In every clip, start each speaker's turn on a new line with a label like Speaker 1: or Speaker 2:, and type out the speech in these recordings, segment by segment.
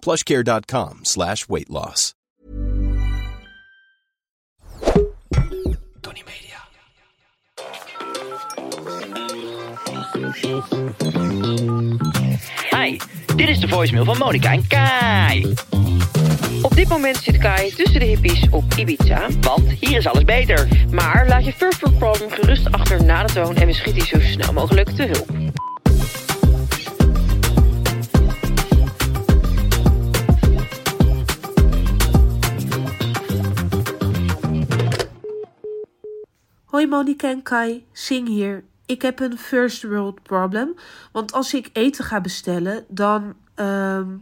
Speaker 1: Plushcare.com slash weight loss.
Speaker 2: Tony Media.
Speaker 3: Hi, dit is de voicemail van Monica en Kai.
Speaker 4: Op dit moment zit Kai tussen de hippies op Ibiza.
Speaker 3: Want hier is alles beter.
Speaker 4: Maar laat je Fur Fur Problem gerust achter na de toon en we schieten je zo snel mogelijk te hulp.
Speaker 5: Hoi Monika en Kai, Sing hier. Ik heb een first world problem. Want als ik eten ga bestellen, dan ehm,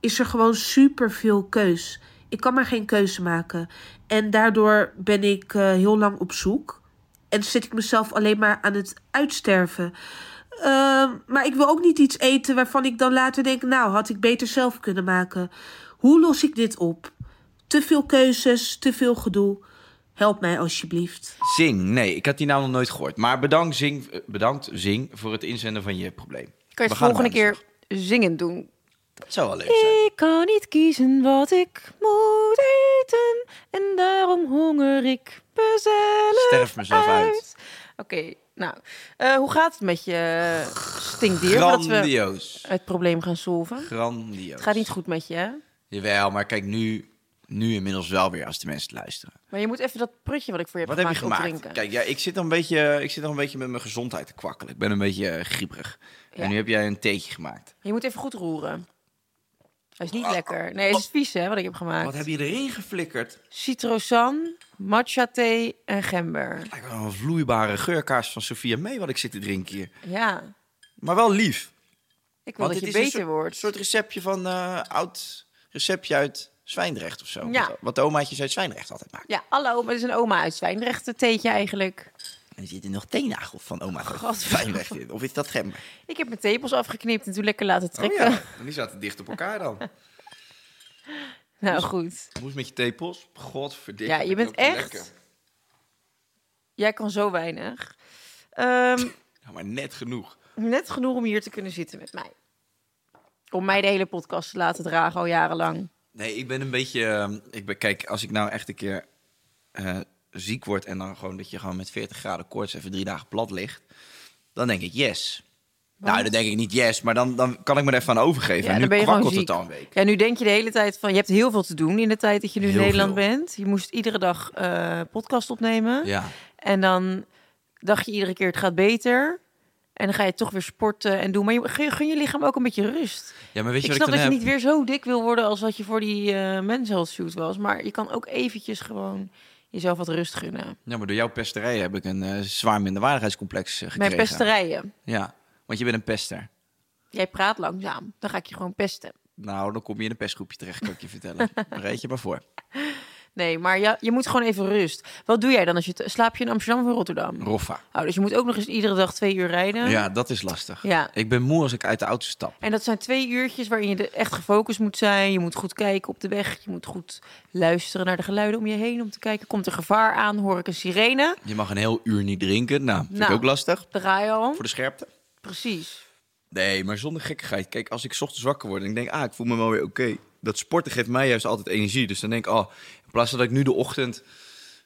Speaker 5: is er gewoon super veel keus. Ik kan maar geen keuze maken. En daardoor ben ik eh, heel lang op zoek. En zit ik mezelf alleen maar aan het uitsterven. Ehm, maar ik wil ook niet iets eten waarvan ik dan later denk: nou, had ik beter zelf kunnen maken. Hoe los ik dit op? Te veel keuzes, te veel gedoe. Help mij alsjeblieft.
Speaker 2: Zing, nee, ik had die naam nog nooit gehoord. Maar bedankt Zing, eh, bedankt, Zing voor het inzenden van je probleem.
Speaker 4: Kan je
Speaker 2: We
Speaker 4: het
Speaker 2: gaan
Speaker 4: volgende
Speaker 2: naar de
Speaker 4: keer zingend doen?
Speaker 2: slag. Dat zou wel leuk zijn.
Speaker 6: Ik kan niet kiezen wat ik moet eten. En daarom honger ik mezelf
Speaker 2: Sterf mezelf uit.
Speaker 6: Oké, nou. eh, hoe gaat het met je eh, stinkdier? Voordat we
Speaker 2: Grandioos.
Speaker 6: het probleem gaan solven.
Speaker 2: Grandioos.
Speaker 6: Het gaat niet goed met je, hè?
Speaker 2: Jawel, maar kijk, nu, nu inmiddels wel weer als de mensen luisteren.
Speaker 6: Maar je moet even dat prutje wat ik voor je heb
Speaker 2: Wat heb je
Speaker 6: gemaakt,
Speaker 2: gemaakt?
Speaker 6: opdrinken.
Speaker 2: Kijk, ja, ik, zit al een beetje, ik zit al een beetje met mijn gezondheid te kwakkelen. Ik ben een beetje eh, grieperig. En nu heb jij een theetje gemaakt.
Speaker 6: Je moet even goed roeren. Hij is niet lekker. Nee, het is vies, hè, wat ik heb gemaakt.
Speaker 2: Ah. Wat heb je erin geflikkerd?
Speaker 6: Citrosan, matcha thee en gember.
Speaker 2: Lijkt wel een vloeibare geurkaas van Sofia mee wat ik zit te drinken hier.
Speaker 6: Ja,
Speaker 2: Maar wel lief.
Speaker 6: ik wil dat
Speaker 2: het
Speaker 6: je
Speaker 2: is
Speaker 6: beter
Speaker 2: een soort,
Speaker 6: wordt.
Speaker 2: soort receptje van eh, oud receptje uit Zwijndrecht of zo.
Speaker 6: Ja.
Speaker 2: Wat, wat de omaatjes uit Zwijndrecht altijd maken.
Speaker 6: Ja, hallo, maar het is een oma uit Zwijndrecht, een theetje eigenlijk.
Speaker 2: En er zitten nog teennagel van oma uit
Speaker 6: God.
Speaker 2: Zwijndrecht in. Of is dat gember?
Speaker 6: Ik heb mijn tepels afgeknipt en toen Oh lekker laten
Speaker 2: Oh
Speaker 6: trekken.
Speaker 2: ja, en die zaten dicht op elkaar dan.
Speaker 6: Nou goed,
Speaker 2: Moest met je tepels. Godverdikke.
Speaker 6: Ja, je bent
Speaker 2: dat is
Speaker 6: echt- jij kan zo weinig. Ehm,
Speaker 2: Ja, maar net genoeg.
Speaker 6: net genoeg om hier te kunnen zitten met mij. Om mij de hele podcast te laten dragen al jarenlang.
Speaker 2: Nee, ik ben een beetje... ehm, Ik ben, kijk, als ik nou echt een keer eh, ziek word... en dan gewoon dat je gewoon met 40 graden koorts even drie dagen plat ligt... dan denk ik yes. Nou, dan denk ik niet yes, maar dan, dan kan ik me er even aan overgeven. en nu
Speaker 6: dan ben je gewoon
Speaker 2: kwakkelt het
Speaker 6: ziek.
Speaker 2: al een week.
Speaker 6: Ja, nu denk je de hele tijd van, je hebt heel veel te doen in de tijd dat je nu in
Speaker 2: Heel
Speaker 6: Nederland
Speaker 2: veel.
Speaker 6: bent. Je moest iedere dag eh, podcast opnemen.
Speaker 2: Ja.
Speaker 6: En dan dacht je iedere keer, het gaat beter. En dan ga je toch weer sporten en doen. Maar je, gun- gun je lichaam ook een beetje rust.
Speaker 2: ja, maar weet je
Speaker 6: ik
Speaker 2: wat
Speaker 6: snap
Speaker 2: ik
Speaker 6: dat
Speaker 2: dan
Speaker 6: je
Speaker 2: heb?
Speaker 6: niet weer zo dik wil worden als wat je voor die eh Men's Health Shoot was. Maar je kan ook eventjes gewoon jezelf wat rust gunnen.
Speaker 2: Ja, maar door jouw pesterij heb ik een eh, zwaar minderwaardigheidscomplex eh, gekregen.
Speaker 6: Mijn pesterijen.
Speaker 2: Ja, want je bent een pester.
Speaker 6: Jij praat langzaam. Dan ga ik je gewoon pesten.
Speaker 2: Nou, dan kom je in een pestgroepje terecht, kan ik je vertellen. Bereid je maar voor.
Speaker 6: Nee, maar ja, je moet gewoon even rust. Wat doe jij dan als je... te- Slaap je in Amsterdam of in Rotterdam?
Speaker 2: Roffa.
Speaker 6: Oh, dus je moet ook nog eens iedere dag twee uur rijden.
Speaker 2: Ja, dat is lastig.
Speaker 6: Ja.
Speaker 2: Ik ben moe als ik uit de auto stap.
Speaker 6: En dat zijn twee uurtjes waarin je de- echt gefocust moet zijn. Je moet goed kijken op de weg. Je moet goed luisteren naar de geluiden om je heen. Om te kijken, komt er gevaar aan? Hoor ik een sirene?
Speaker 2: Je mag een heel uur niet drinken. Nou, vind
Speaker 6: Nou.
Speaker 2: ik ook lastig.
Speaker 6: Daar ga je al.
Speaker 2: Voor de scherpte.
Speaker 6: Precies.
Speaker 2: Nee, maar zonder gekkigheid. Kijk, als ik 's ochtends wakker word en ik denk, ah, ik voel me wel weer oké. Dat sporten geeft mij juist altijd energie. Dus dan denk ik, oh, in plaats van dat ik nu de ochtend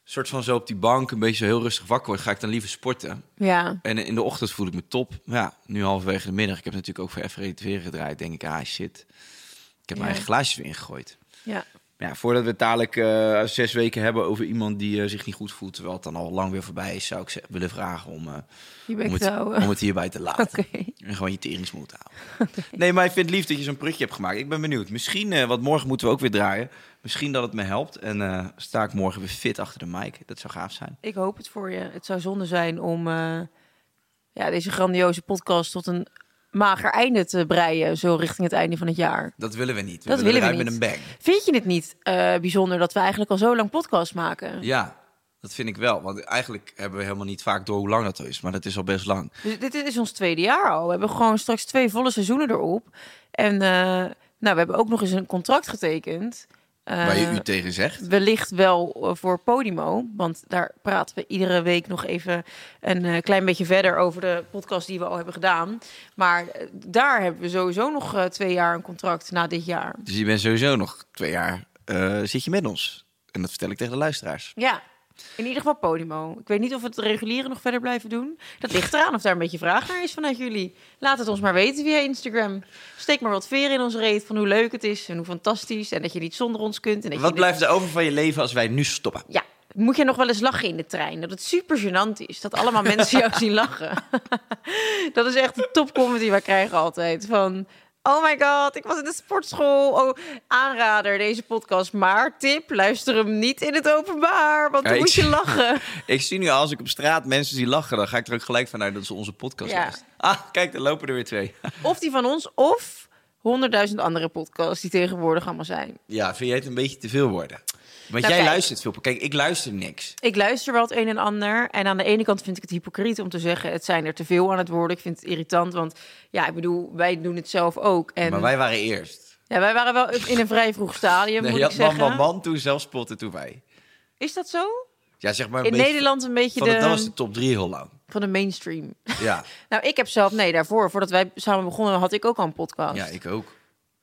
Speaker 2: soort van zo op die bank een beetje zo heel rustig wakker word, ga ik dan liever sporten.
Speaker 6: Ja.
Speaker 2: En in de ochtend voel ik me top. Ja, nu halverwege de middag. Ik heb E natuurlijk ook voor F weer gedraaid. Denk ik, ah shit. Ik heb mijn eigen glaasjes weer ingegooid.
Speaker 6: Ja.
Speaker 2: Maar Maar ja, voordat we het dadelijk eh, zes weken hebben over iemand die eh, zich niet goed voelt, terwijl het dan al lang weer voorbij is, zou ik ze willen vragen om, eh,
Speaker 6: Je
Speaker 2: om,
Speaker 6: bek
Speaker 2: het,
Speaker 6: te houden.
Speaker 2: om het hierbij te laten.
Speaker 6: Oké.
Speaker 2: En gewoon je teringsmoed te houden. Nee, maar ik vind het lief dat je zo'n prutje hebt gemaakt. Ik ben benieuwd. Misschien, eh, want morgen moeten we ook weer draaien. Misschien dat het me helpt. En eh, sta ik morgen weer fit achter de mic. Dat zou gaaf zijn.
Speaker 6: Ik hoop het voor je. Het zou zonde zijn om eh, ja, deze grandioze podcast tot een mager einde te breien. Zo richting het einde van het jaar.
Speaker 2: Dat willen we niet. We
Speaker 6: Dat willen we
Speaker 2: eruit
Speaker 6: niet.
Speaker 2: met een bang.
Speaker 6: Vind je het niet eh, bijzonder dat we eigenlijk al zo lang podcast maken?
Speaker 2: Ja, dat vind ik wel. Want eigenlijk hebben we helemaal niet vaak door hoe lang dat is. Maar dat is al best lang.
Speaker 6: Dus dit is ons tweede jaar al. We hebben gewoon straks twee volle seizoenen erop. En eh, nou, we hebben ook nog eens een contract getekend. Eh,
Speaker 2: Waar je u tegen zegt.
Speaker 6: wellicht wel eh, voor Podimo. Want daar praten we iedere week nog even een eh, klein beetje verder over de podcast die we al hebben gedaan. Maar eh, daar hebben we sowieso nog eh, twee jaar een contract na dit jaar.
Speaker 2: Dus je bent sowieso nog twee jaar eh, zit je met ons. En dat vertel ik tegen de luisteraars.
Speaker 6: Ja. In ieder geval Podimo. Ik weet niet of we het reguliere nog verder blijven doen. Dat ligt eraan of daar een beetje vraag naar is vanuit jullie. Laat het ons maar weten via Instagram. Steek maar wat veer in onze reet van hoe leuk het is en hoe fantastisch. En dat je niet zonder ons kunt. En dat
Speaker 2: Wat
Speaker 6: je
Speaker 2: blijft er over van je leven als wij nu stoppen?
Speaker 6: Ja, moet je nog wel eens lachen in de trein? Dat het super gênant is. Dat allemaal mensen jou zien lachen. dat is echt de topcomedy wij krijgen altijd. Van, oh my god, ik was in de sportschool. Oh, aanrader, deze podcast. Maar tip, luister hem niet in het openbaar. Want dan
Speaker 2: Ja, ik
Speaker 6: moet je
Speaker 2: zie-
Speaker 6: lachen.
Speaker 2: Ik zie nu al, als ik op straat mensen zie lachen, dan ga ik er ook gelijk vanuit dat ze onze podcast
Speaker 6: Ja.
Speaker 2: luisteren. Ah, kijk, daar lopen er weer twee.
Speaker 6: Of die van ons, of honderdduizend andere podcasts die tegenwoordig allemaal zijn.
Speaker 2: Ja, vind jij het een beetje te veel worden? Want jij
Speaker 6: Nou, kijk.
Speaker 2: luistert veel. Kijk, ik luister niks.
Speaker 6: Ik luister wel het een en ander. En aan de ene kant vind ik het hypocriet om te zeggen... het zijn er te veel aan het worden. Ik vind het irritant, want ja, ik bedoel, wij doen het zelf ook. En
Speaker 2: Maar wij waren eerst.
Speaker 6: Ja, wij waren wel in een vrij vroeg stadium,
Speaker 2: Nee,
Speaker 6: moet
Speaker 2: je
Speaker 6: ik
Speaker 2: had man,
Speaker 6: zeggen.
Speaker 2: man, man, toen zelfspot en toen wij.
Speaker 6: Is dat zo?
Speaker 2: Ja, zeg maar een
Speaker 6: In
Speaker 2: beetje-
Speaker 6: Nederland een beetje
Speaker 2: Van het, dat was
Speaker 6: de,
Speaker 2: de top drie heel lang.
Speaker 6: van de mainstream.
Speaker 2: Ja,
Speaker 6: nou, ik heb zelf... Nee, daarvoor, voordat wij samen begonnen, had ik ook al een podcast.
Speaker 2: ja ik ook.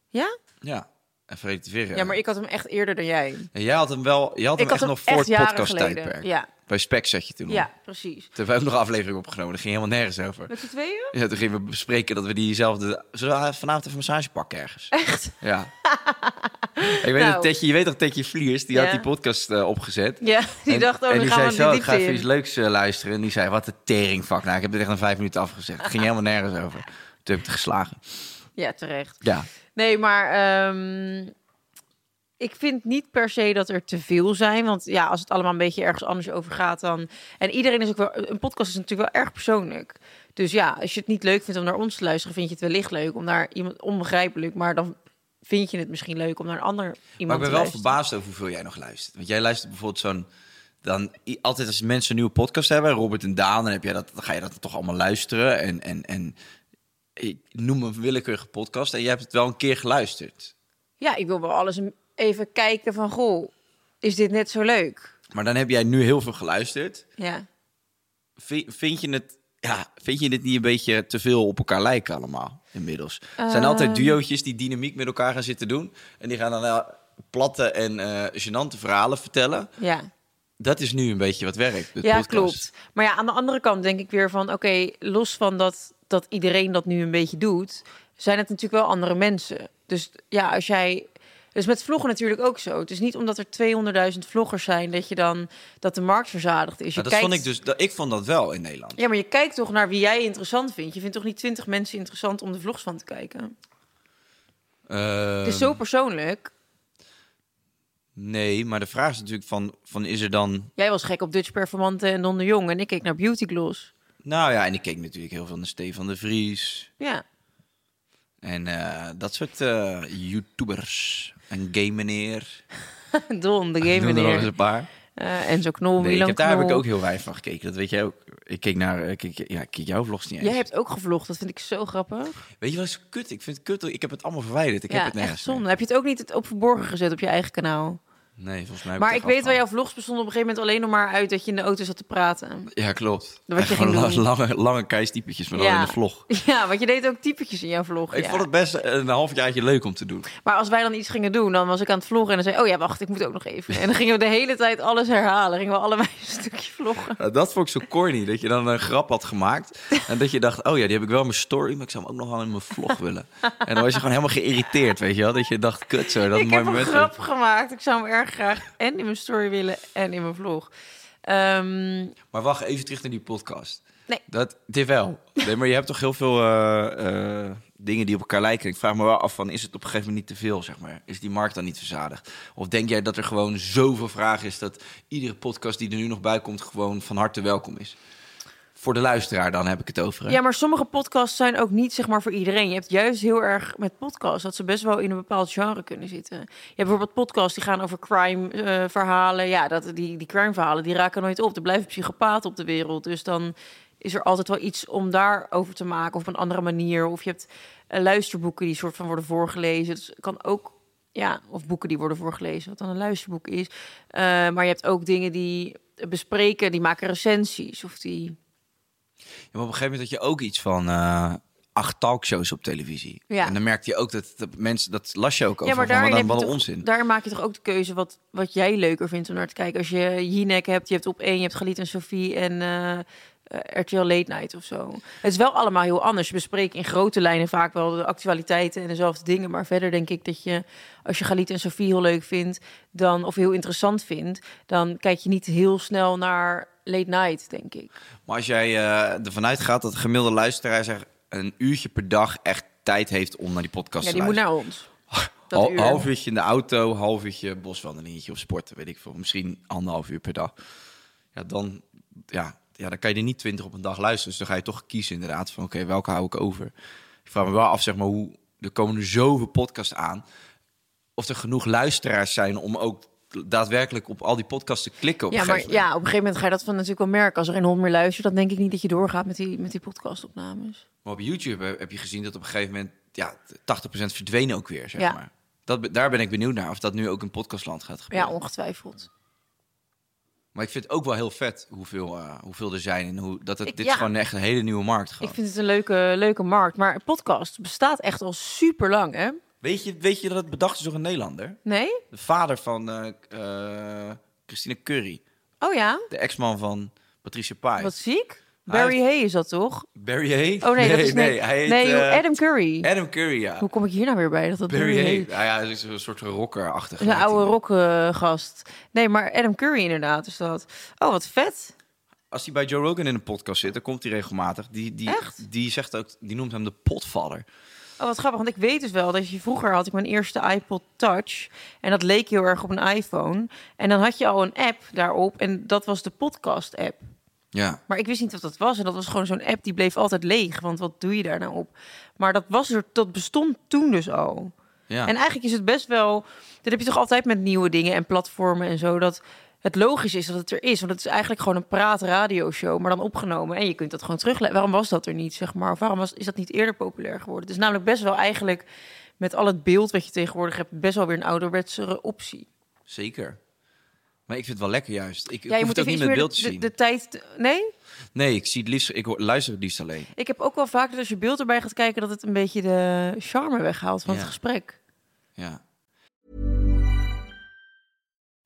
Speaker 6: Ja?
Speaker 2: Ja, en Freddy de Veren.
Speaker 6: Ja, maar ik had hem echt eerder dan jij.
Speaker 2: En jij had hem wel, je had hem
Speaker 6: Ik had
Speaker 2: echt
Speaker 6: hem
Speaker 2: nog
Speaker 6: echt
Speaker 2: voor het
Speaker 6: jaren
Speaker 2: podcast tijdperk.
Speaker 6: geleden, ja.
Speaker 2: Bij Spec zat je toen nog.
Speaker 6: Ja, precies.
Speaker 2: Toen hebben we ook nog aflevering opgenomen, dat ging helemaal nergens over.
Speaker 6: Met z'n tweeën?
Speaker 2: Ja, toen gingen we bespreken dat we diezelfde... Zullen we vanavond even massage pakken ergens?
Speaker 6: Echt?
Speaker 2: Ja. ik weet
Speaker 6: Nou.
Speaker 2: dat Tetje, je weet toch Tetje Vliers, die had
Speaker 6: Ja.
Speaker 2: die podcast eh, opgezet.
Speaker 6: Ja, die
Speaker 2: En-
Speaker 6: dacht, oh,
Speaker 2: en
Speaker 6: dan
Speaker 2: die
Speaker 6: gaan
Speaker 2: zei
Speaker 6: we
Speaker 2: zo,
Speaker 6: de
Speaker 2: ik ga
Speaker 6: diepte
Speaker 2: even iets
Speaker 6: in.
Speaker 2: leuks eh, luisteren. En die zei, wat een teringvak. Nou, ik heb het echt in vijf minuten afgezegd. Het ging helemaal nergens over. Toen heb ik het geslagen.
Speaker 6: Ja, terecht.
Speaker 2: Ja.
Speaker 6: Nee, maar ehm, ik vind niet per se dat er te veel zijn. Want ja, als het allemaal een beetje ergens anders over gaat dan... En iedereen is ook wel... Een podcast is natuurlijk wel erg persoonlijk. Dus ja, als je het niet leuk vindt om naar ons te luisteren... vind je het wellicht leuk om naar iemand... Onbegrijpelijk, maar dan vind je het misschien leuk om naar een ander
Speaker 2: Maar
Speaker 6: iemand
Speaker 2: ik ben
Speaker 6: te
Speaker 2: wel
Speaker 6: luisteren.
Speaker 2: verbaasd over hoeveel jij nog luistert. Want jij luistert bijvoorbeeld zo'n... Dan, i- altijd als mensen een nieuwe podcast hebben, Robert en Daan, dan, heb jij dat, dan ga je dat toch allemaal luisteren. En, en, en ik noem een willekeurige podcast. En jij hebt het wel een keer geluisterd.
Speaker 6: Ja, ik wil wel alles een- even kijken van... Goh, is dit net zo leuk?
Speaker 2: Maar dan heb jij nu heel veel geluisterd.
Speaker 6: Ja.
Speaker 2: Vi- Vind je het, ja, vind je dit niet een beetje te veel op elkaar lijken allemaal inmiddels? Er zijn altijd
Speaker 6: Ehm.
Speaker 2: duootjes die dynamiek met elkaar gaan zitten doen. En die gaan dan eh, platte en eh gênante verhalen vertellen.
Speaker 6: Ja.
Speaker 2: Dat is nu een beetje wat werkt. de
Speaker 6: ja,
Speaker 2: podcast.
Speaker 6: klopt. Maar ja, aan de andere kant denk ik weer van... oké, los van dat, dat iedereen dat nu een beetje doet... zijn het natuurlijk wel andere mensen. Dus ja, als jij... Dus met vloggen natuurlijk ook zo. Het is niet omdat er 200.000 vloggers zijn... dat je dan dat de markt verzadigd is. Je
Speaker 2: Maar dat
Speaker 6: kijkt,
Speaker 2: vond ik dus, dat, ik vond dat wel in Nederland.
Speaker 6: Ja, maar je kijkt toch naar wie jij interessant vindt. Je vindt toch niet 20 mensen interessant om de vlogs van te kijken?
Speaker 2: Eh,
Speaker 6: het is Dus
Speaker 2: Ehm.
Speaker 6: zo persoonlijk.
Speaker 2: Nee, maar de vraag is natuurlijk van, van is er dan...
Speaker 6: Jij was gek op Dutch Performante en Don de Jong... en ik keek naar Beauty Gloss.
Speaker 2: Nou ja, en ik keek natuurlijk heel veel naar Stefan de Vries.
Speaker 6: Ja,
Speaker 2: En eh, dat soort eh, YouTubers. En Game Meneer.
Speaker 6: Don, de game
Speaker 2: Noem er nog eens
Speaker 6: meneer.
Speaker 2: een paar.
Speaker 6: Eh, Enzo Knol,
Speaker 2: Nee, ik
Speaker 6: Milan
Speaker 2: heb, daar heb ik
Speaker 6: Knol.
Speaker 2: ook heel weinig van gekeken. Dat weet jij ook. Ik keek naar... eh, keek, ja, ik keek jouw vlogs niet eens.
Speaker 6: Jij hebt ook gevlogd, dat vind ik zo grappig.
Speaker 2: Weet je wat is kut? Ik vind het kut. Ik heb het allemaal verwijderd. Ik
Speaker 6: ja,
Speaker 2: heb het nergens
Speaker 6: echt zonde.
Speaker 2: meer.
Speaker 6: Heb je het ook niet op verborgen gezet op je eigen kanaal?
Speaker 2: Nee, volgens mij. heb
Speaker 6: Maar
Speaker 2: het
Speaker 6: ik
Speaker 2: echt
Speaker 6: weet wel, jouw
Speaker 2: afgehaald.
Speaker 6: vlogs bestonden op een gegeven moment alleen nog maar uit dat je in de auto zat te praten.
Speaker 2: Ja, klopt.
Speaker 6: Wat je
Speaker 2: Echt
Speaker 6: ging
Speaker 2: gewoon
Speaker 6: doen.
Speaker 2: la- lange, lange keistypetjes, maar dan
Speaker 6: ja.
Speaker 2: in de vlog.
Speaker 6: Ja, want je deed ook typetjes in jouw vlog.
Speaker 2: Ik
Speaker 6: ja.
Speaker 2: vond het best een halfjaartje leuk om te doen.
Speaker 6: Maar als wij dan iets gingen doen, dan was ik aan het vloggen en dan zei ik, oh ja, wacht, ik moet ook nog even. En dan gingen we de hele tijd alles herhalen. Gingen we allebei een stukje vloggen.
Speaker 2: Nou, dat vond ik zo corny, dat je dan een grap had gemaakt. En dat je dacht, oh ja, die heb ik wel in mijn story, maar ik zou hem ook nog wel in mijn vlog willen. En dan was je gewoon helemaal geïrriteerd, weet je wel. Dat je dacht, kut zo, dat is een
Speaker 6: ik
Speaker 2: mooi
Speaker 6: heb een
Speaker 2: moment.
Speaker 6: grap gemaakt. Ik zou hem erg graag en in mijn story willen en in mijn vlog. Ehm,
Speaker 2: Maar wacht, even terug naar die podcast.
Speaker 6: Nee.
Speaker 2: Dat, dit wel. Nee, maar je hebt toch heel veel eh, eh, dingen die op elkaar lijken. Ik vraag me wel af van, is het op een gegeven moment niet te veel, zeg maar? Is die markt dan niet verzadigd? Of denk jij dat er gewoon zoveel vraag is dat iedere podcast die er nu nog bij komt gewoon van harte welkom is? Voor de luisteraar dan heb ik het over. hè?
Speaker 6: ja, maar sommige podcasts zijn ook niet zeg maar voor iedereen. Je hebt juist heel erg met podcasts dat ze best wel in een bepaald genre kunnen zitten. Je hebt bijvoorbeeld podcasts die gaan over crime eh, verhalen. Ja, dat, die, die crime verhalen die raken nooit op. Er blijven psychopaten op de wereld. Dus dan is er altijd wel iets om daarover te maken of op een andere manier. Of je hebt eh, luisterboeken die soort van worden voorgelezen. Dus het kan ook ja, of boeken die worden voorgelezen, wat dan een luisterboek is. Eh, maar je hebt ook dingen die bespreken, die maken recensies of die
Speaker 2: Ja, maar op een gegeven moment had je ook iets van eh, acht talkshows op televisie.
Speaker 6: Ja.
Speaker 2: En dan merkte je ook dat, dat mensen, dat las je ook over.
Speaker 6: Ja, maar
Speaker 2: van, wat
Speaker 6: daarin,
Speaker 2: een-
Speaker 6: heb je
Speaker 2: wat een
Speaker 6: toch-
Speaker 2: onzin.
Speaker 6: daarin maak je toch ook de keuze wat, wat jij leuker vindt om naar te kijken. Als je Jinek hebt, je hebt op één, je hebt Galit en Sophie en eh, eh, RTL Late Night of zo. Het is wel allemaal heel anders. Je bespreekt in grote lijnen vaak wel de actualiteiten en dezelfde dingen. Maar verder denk ik dat je, als je Galit en Sophie heel leuk vindt dan, of heel interessant vindt, dan kijk je niet heel snel naar Late Night, denk ik.
Speaker 2: Maar als jij eh, ervan uitgaat dat de gemiddelde luisteraar zeg, een uurtje per dag echt tijd heeft om naar die podcast
Speaker 6: Ja,
Speaker 2: te
Speaker 6: die moet
Speaker 2: luisteren.
Speaker 6: naar ons. dat
Speaker 2: Hal-
Speaker 6: uur.
Speaker 2: half uurtje in de auto, half uurtje boswandelingetje of sporten, weet ik veel. Misschien anderhalf uur per dag. Ja, dan, ja, ja, dan kan je er niet twintig op een dag luisteren. Dus dan ga je toch kiezen inderdaad van, oké, welke hou ik over? Ik vraag me wel af, zeg maar, hoe... Er komen er zoveel podcasts aan. Of er genoeg luisteraars zijn om ook daadwerkelijk op al die podcasts te klikken op
Speaker 6: Ja,
Speaker 2: een
Speaker 6: maar ja,
Speaker 2: gegeven
Speaker 6: op een gegeven moment ga je dat van natuurlijk wel merken. Als er geen hond meer luistert, dan denk ik niet dat je doorgaat met die, met die podcastopnames.
Speaker 2: Maar op YouTube heb- heb je gezien dat op een gegeven moment ja, 80% verdwenen ook weer, zeg
Speaker 6: Ja.
Speaker 2: maar. Dat, be- daar ben ik benieuwd naar of dat nu ook in podcastland gaat gebeuren.
Speaker 6: Ja, ongetwijfeld.
Speaker 2: maar ik vind het ook wel heel vet hoeveel, eh, hoeveel er zijn en hoe, dat het,
Speaker 6: Ik-
Speaker 2: dit
Speaker 6: ja.
Speaker 2: is gewoon echt een hele nieuwe markt. Gewoon.
Speaker 6: Ik vind het een leuke, leuke markt. Maar een podcast bestaat echt al super lang, hè?
Speaker 2: Weet, je, weet je dat het bedacht is door een Nederlander?
Speaker 6: Nee?
Speaker 2: De vader van eh, k- eh, Christine Curry,
Speaker 6: Oh ja?
Speaker 2: de ex-man van Patricia Pai.
Speaker 6: Wat ziek.
Speaker 2: Hij
Speaker 6: Barry
Speaker 2: heeft-
Speaker 6: Hay is dat toch?
Speaker 2: Barry Hay?
Speaker 6: Oh nee, dat is
Speaker 2: nee,
Speaker 6: nee.
Speaker 2: hij heet,
Speaker 6: nee, joh,
Speaker 2: eh,
Speaker 6: Adam Curry.
Speaker 2: Adam Curry, ja.
Speaker 6: Hoe kom ik hier nou weer bij dat dat
Speaker 2: Barry Hay.
Speaker 6: Hay
Speaker 2: Nou ja, hij is een soort rocker-achtig.
Speaker 6: is? Een oude rockgast. Nee, maar Adam Curry inderdaad is dat. Oh, wat vet.
Speaker 2: als hij bij Joe Rogan in een podcast zit, dan komt hij regelmatig. Die, die,
Speaker 6: Echt?
Speaker 2: die zegt ook, die noemt hem de potvaller.
Speaker 6: Oh, wat grappig, want ik weet dus wel dat je vroeger had ik mijn eerste iPod Touch en dat leek heel erg op een iPhone. En dan had je al een app daarop en dat was de podcast app.
Speaker 2: Ja.
Speaker 6: Maar ik wist niet wat dat was en dat was gewoon zo'n app die bleef altijd leeg, want wat doe je daar nou op? Maar dat was er, dat bestond toen dus al.
Speaker 2: ja.
Speaker 6: En eigenlijk is het best wel, dat heb je toch altijd met nieuwe dingen en platformen en zo, dat het logisch is dat het er is. Want het is eigenlijk gewoon een praatradioshow, maar dan opgenomen. En je kunt dat gewoon teruglezen. Waarom was dat er niet, zeg maar? Of waarom was, is dat niet eerder populair geworden? Het is namelijk best wel eigenlijk, met al het beeld wat je tegenwoordig hebt, best wel weer een ouderwetsere optie.
Speaker 2: Zeker. Maar ik vind het wel lekker juist. Ik, ik
Speaker 6: ja, je
Speaker 2: hoef het ook niet
Speaker 6: even
Speaker 2: met beeld te
Speaker 6: iets meer de,
Speaker 2: zien.
Speaker 6: de, de tijd... te- Nee?
Speaker 2: Nee, ik, zie het liefst, ik hoor- luister het liefst alleen.
Speaker 6: Ik heb ook wel vaak dat als je beeld erbij gaat kijken... dat het een beetje de charme weghaalt van
Speaker 2: Ja.
Speaker 6: het gesprek.
Speaker 2: Ja.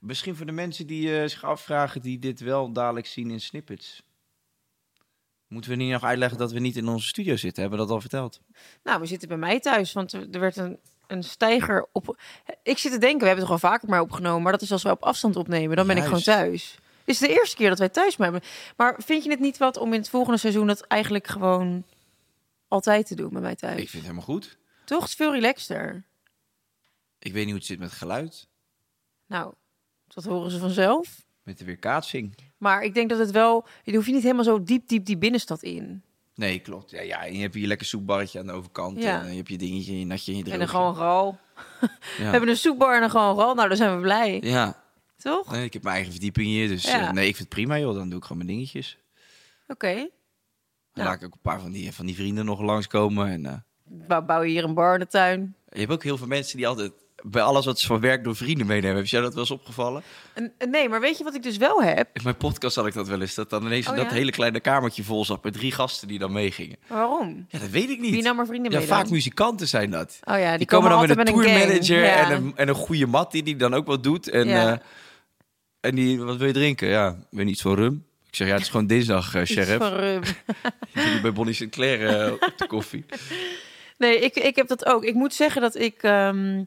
Speaker 2: Misschien voor de mensen die eh, zich afvragen, die dit wel dadelijk zien in snippets. Moeten we niet nog uitleggen dat we niet in onze studio zitten? Hebben we dat al verteld?
Speaker 6: Nou, we zitten bij mij thuis, want er er werd een, een stijger op... Ik zit te denken, we hebben het gewoon vaker maar opgenomen... maar dat is als we op afstand opnemen, dan ben ik gewoon
Speaker 2: Juist.
Speaker 6: thuis. Dit is de eerste keer dat wij thuis maar hebben. Maar vind je het niet wat om in het volgende seizoen... dat eigenlijk gewoon altijd te doen bij mij thuis?
Speaker 2: Ik vind het helemaal goed.
Speaker 6: Toch? Het is veel relaxter.
Speaker 2: Ik weet niet hoe het zit met geluid,
Speaker 6: Nou, dat horen ze vanzelf.
Speaker 2: met de weerkaatsing.
Speaker 6: Maar ik denk dat het wel... Je hoeft je niet helemaal zo diep, diep die binnenstad in.
Speaker 2: Nee, klopt. Ja, ja, en je hebt hier lekker soepbarretje aan de overkant.
Speaker 6: Ja.
Speaker 2: En je hebt je dingetje, je natje, je droogje.
Speaker 6: En dan gewoon ral.
Speaker 2: Ja.
Speaker 6: We hebben een soepbar en dan gewoon ral. Nou, dan zijn we blij.
Speaker 2: Ja,
Speaker 6: Toch? Oké.
Speaker 2: nee, ik heb mijn eigen verdieping hier, dus
Speaker 6: Ja.
Speaker 2: eh, nee, ik vind het prima joh. Dan doe ik gewoon mijn dingetjes. Dan
Speaker 6: Ja.
Speaker 2: laat ik ook een paar van die, van die vrienden nog langskomen. En, eh,
Speaker 6: Bou- Bouw je hier een bar in de tuin.
Speaker 2: je hebt ook heel veel mensen die altijd bij alles wat ze van werk door vrienden meenemen. Heb jij dat wel eens opgevallen?
Speaker 6: En, en nee, maar weet je wat ik dus wel heb?
Speaker 2: In mijn podcast had ik dat wel eens. Dat dan ineens
Speaker 6: Oh,
Speaker 2: dat
Speaker 6: ja?
Speaker 2: hele kleine kamertje vol zat met drie gasten die dan meegingen.
Speaker 6: Waarom?
Speaker 2: Ja, dat weet ik niet.
Speaker 6: Wie nam er vrienden
Speaker 2: ja,
Speaker 6: mee
Speaker 2: vaak
Speaker 6: dan?
Speaker 2: muzikanten zijn dat.
Speaker 6: Oh ja, die,
Speaker 2: die, komen dan met een
Speaker 6: altijd met een
Speaker 2: tourmanager
Speaker 6: gang. Ja.
Speaker 2: en, een, en een goede mat die die dan ook wat doet. En,
Speaker 6: Ja.
Speaker 2: eh, en die, wat wil je drinken? Ja, ik weet niet, iets van rum? Ik zeg, ja, het is gewoon dinsdag, eh,
Speaker 6: Iets
Speaker 2: sheriff.
Speaker 6: van rum.
Speaker 2: Ik zit hier bij Bonnie Sinclair eh, op de koffie.
Speaker 6: Nee, ik, ik heb dat ook. Ik moet zeggen dat ik... ehm,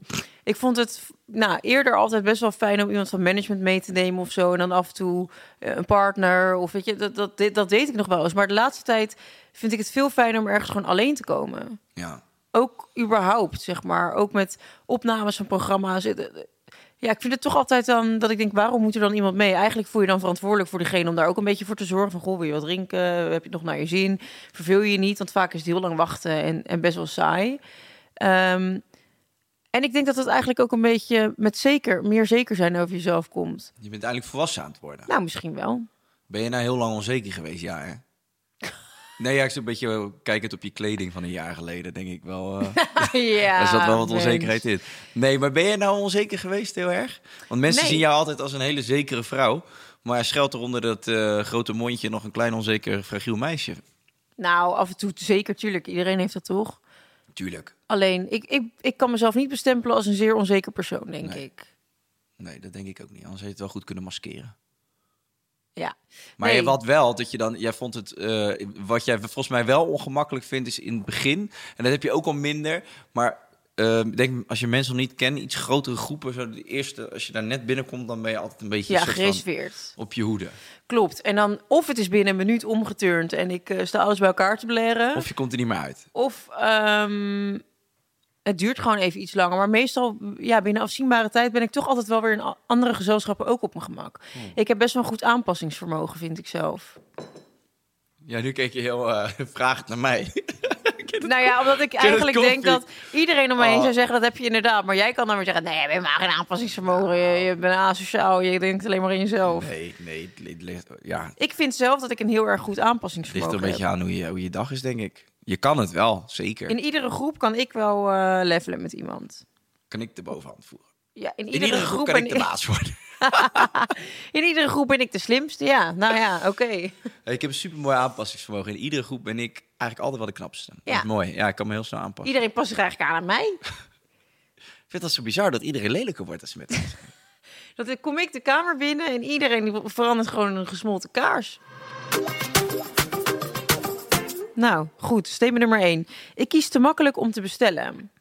Speaker 6: ik vond het nou, eerder altijd best wel fijn om iemand van management mee te nemen of zo. En dan af en toe eh, een partner of weet je, dat, dat, dit- dat deed ik nog wel eens. Maar de laatste tijd vind ik het veel fijner om ergens gewoon alleen te komen.
Speaker 2: Ja.
Speaker 6: ook überhaupt, zeg maar, ook met opnames van programma's. Het- het- Ja, ik vind het toch altijd dan dat ik denk, waarom moet er dan iemand mee? Eigenlijk voel je dan verantwoordelijk voor degene om daar ook een beetje voor te zorgen. Van, goh, wil je wat drinken? Heb je het nog naar je zin? Verveel je je niet? Want vaak is het heel lang wachten en, en best wel saai. Ehm, en ik denk dat het eigenlijk ook een beetje met zeker, meer zeker zijn over jezelf komt.
Speaker 2: Je bent eigenlijk volwassen aan het worden.
Speaker 6: Nou, misschien wel.
Speaker 2: Ben je nou heel lang onzeker geweest? Ja, hè? Nee, ja, ik zit een beetje eh, kijkend op je kleding van een jaar geleden, denk ik wel. eh.
Speaker 6: ja,
Speaker 2: Er zat wel wat
Speaker 6: Ah, mens.
Speaker 2: onzekerheid in. Nee, maar ben je nou onzeker geweest heel erg? Want mensen
Speaker 6: Nee.
Speaker 2: zien jou altijd als een hele zekere vrouw. Maar schuilt er onder dat eh, grote mondje nog een klein onzeker fragiel meisje?
Speaker 6: Nou, af en toe zeker, tuurlijk. Iedereen heeft dat toch?
Speaker 2: Tuurlijk.
Speaker 6: Alleen, ik, ik, ik kan mezelf niet bestempelen als een zeer onzeker persoon, denk
Speaker 2: Nee.
Speaker 6: ik.
Speaker 2: Nee, dat denk ik ook niet. Anders had je het wel goed kunnen maskeren.
Speaker 6: Ja.
Speaker 2: Maar
Speaker 6: Nee.
Speaker 2: je wat wel, dat je dan, jij vond het, eh, wat jij volgens mij wel ongemakkelijk vindt, is in het begin. En dat heb je ook al minder. Maar eh, ik denk, als je mensen nog niet kent, iets grotere groepen, zo de eerste, als je daar net binnenkomt, dan ben je altijd een beetje
Speaker 6: Ja,
Speaker 2: een soort van
Speaker 6: gereserveerd.
Speaker 2: op je hoede.
Speaker 6: Klopt. En dan, of het is binnen een minuut omgeturnd en ik eh, sta alles bij elkaar te blaren.
Speaker 2: Of
Speaker 6: Of,
Speaker 2: je komt er niet meer uit.
Speaker 6: ehm, het duurt gewoon even iets langer. Maar meestal, ja, binnen afzienbare tijd ben ik toch altijd wel weer in a- andere gezelschappen ook op mijn gemak.
Speaker 2: Hmm.
Speaker 6: Ik heb best wel een goed aanpassingsvermogen, vind ik zelf.
Speaker 2: Ja, nu keek je heel eh vraagend naar mij.
Speaker 6: Nou ja, omdat ik eigenlijk
Speaker 2: koffie.
Speaker 6: denk dat iedereen om me
Speaker 2: Oh.
Speaker 6: heen zou zeggen, dat heb je inderdaad. Maar jij kan dan weer zeggen, nee, je bent maar geen aanpassingsvermogen. Je, je bent asociaal, je denkt alleen maar in jezelf.
Speaker 2: Nee, nee, het li- het ligt, ja, het
Speaker 6: Ik vind zelf dat ik een heel erg goed
Speaker 2: ligt
Speaker 6: aanpassingsvermogen
Speaker 2: er een beetje
Speaker 6: heb.
Speaker 2: aan hoe je, hoe je dag is, denk ik. Je kan het wel, zeker.
Speaker 6: In iedere groep kan ik wel eh, levelen met iemand.
Speaker 2: Kan ik de bovenhand voeren.
Speaker 6: Ja, in
Speaker 2: In
Speaker 6: iedere,
Speaker 2: iedere groep kan
Speaker 6: ben
Speaker 2: ik de baas worden.
Speaker 6: In iedere groep ben ik de slimste. Ja, nou ja, oké.
Speaker 2: Eh, Ik heb een supermooi aanpassingsvermogen. In iedere groep ben ik eigenlijk altijd wel de knapste. Dat
Speaker 6: Ja.
Speaker 2: is mooi. Ja, ik kan me heel snel aanpassen.
Speaker 6: Iedereen past zich eigenlijk aan aan mij.
Speaker 2: Ik vind dat zo bizar dat iedereen lelijker wordt als ze met ons zijn.
Speaker 6: Dat ik- kom ik de kamer binnen en iedereen die verandert gewoon in een gesmolten kaars. Nou, goed. Statement nummer 1. Ik kies te makkelijk om te bestellen.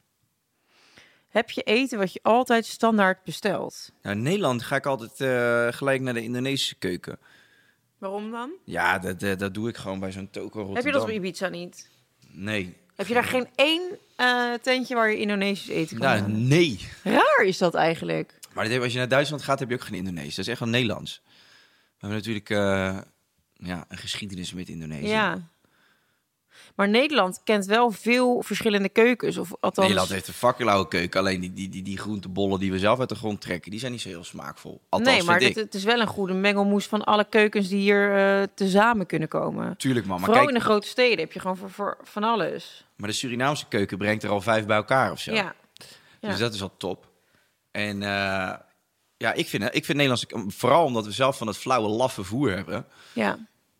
Speaker 6: Heb je eten wat je altijd standaard bestelt?
Speaker 2: Nou, in Nederland ga ik altijd eh, gelijk naar de Indonesische keuken.
Speaker 6: Waarom dan?
Speaker 2: Ja, dat, dat, dat doe ik gewoon bij zo'n toko Rotterdam.
Speaker 6: Heb je dat op Ibiza niet?
Speaker 2: Nee.
Speaker 6: Heb je daar geen één eh, tentje waar je Indonesisch eten kan
Speaker 2: Nou,
Speaker 6: halen?
Speaker 2: nee.
Speaker 6: Raar is dat eigenlijk.
Speaker 2: Maar dit, als je naar Duitsland gaat, heb je ook geen Indonesisch. Dat is echt wel Nederlands. We hebben natuurlijk eh, ja, een geschiedenis met Indonesië.
Speaker 6: Ja. Maar Nederland kent wel veel verschillende keukens. Of althans,
Speaker 2: Nederland heeft een fakkelauwe keuken. Alleen die, die, die, die groentebollen die we zelf uit de grond trekken, die zijn niet zo heel smaakvol. Althans,
Speaker 6: nee, maar
Speaker 2: vind
Speaker 6: dit,
Speaker 2: ik.
Speaker 6: het is wel een goede mengelmoes van alle keukens die hier eh tezamen kunnen komen.
Speaker 2: Tuurlijk man, maar
Speaker 6: Vooral in
Speaker 2: kijk,
Speaker 6: de grote steden heb je gewoon voor, voor van alles.
Speaker 2: maar de Surinaamse keuken brengt er al vijf bij elkaar of zo.
Speaker 6: Ja. ja.
Speaker 2: Dus dat is al top. En eh, ja, ik vind, ik vind Nederlandse, vooral omdat we zelf van het flauwe laffe voer hebben,
Speaker 6: ja.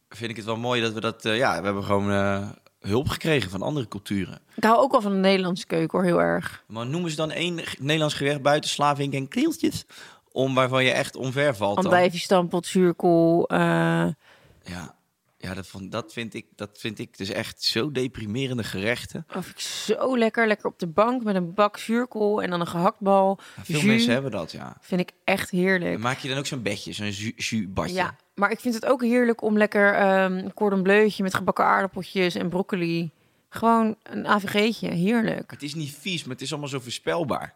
Speaker 2: vind ik het wel mooi dat we dat, eh, ja, we hebben gewoon eh, hulp gekregen van andere culturen.
Speaker 6: Ik hou ook wel van de Nederlandse keuken hoor, heel erg.
Speaker 2: Maar noemen ze dan één g- Nederlands gerecht buiten slavink en krieltjes? Om waarvan je echt omver valt. Dan.
Speaker 6: Andijvie, stampot, zuurkool. eh,
Speaker 2: Ja, ja dat, vond, dat, vind ik, dat vind ik dus echt zo deprimerende gerechten.
Speaker 6: dat oh, vind ik zo lekker. Lekker op de bank met een bak zuurkool en dan een gehaktbal.
Speaker 2: Ja, veel
Speaker 6: Jus.
Speaker 2: mensen hebben dat, ja.
Speaker 6: Vind ik echt heerlijk.
Speaker 2: Dan maak je dan ook zo'n bedje, zo'n ju- jus-badje.
Speaker 6: Ja, maar ik vind het ook heerlijk om lekker ehm, een cordon bleutje met gebakken aardappeltjes en broccoli. Gewoon een AVG'tje, heerlijk.
Speaker 2: Het is niet vies, maar het is allemaal zo voorspelbaar.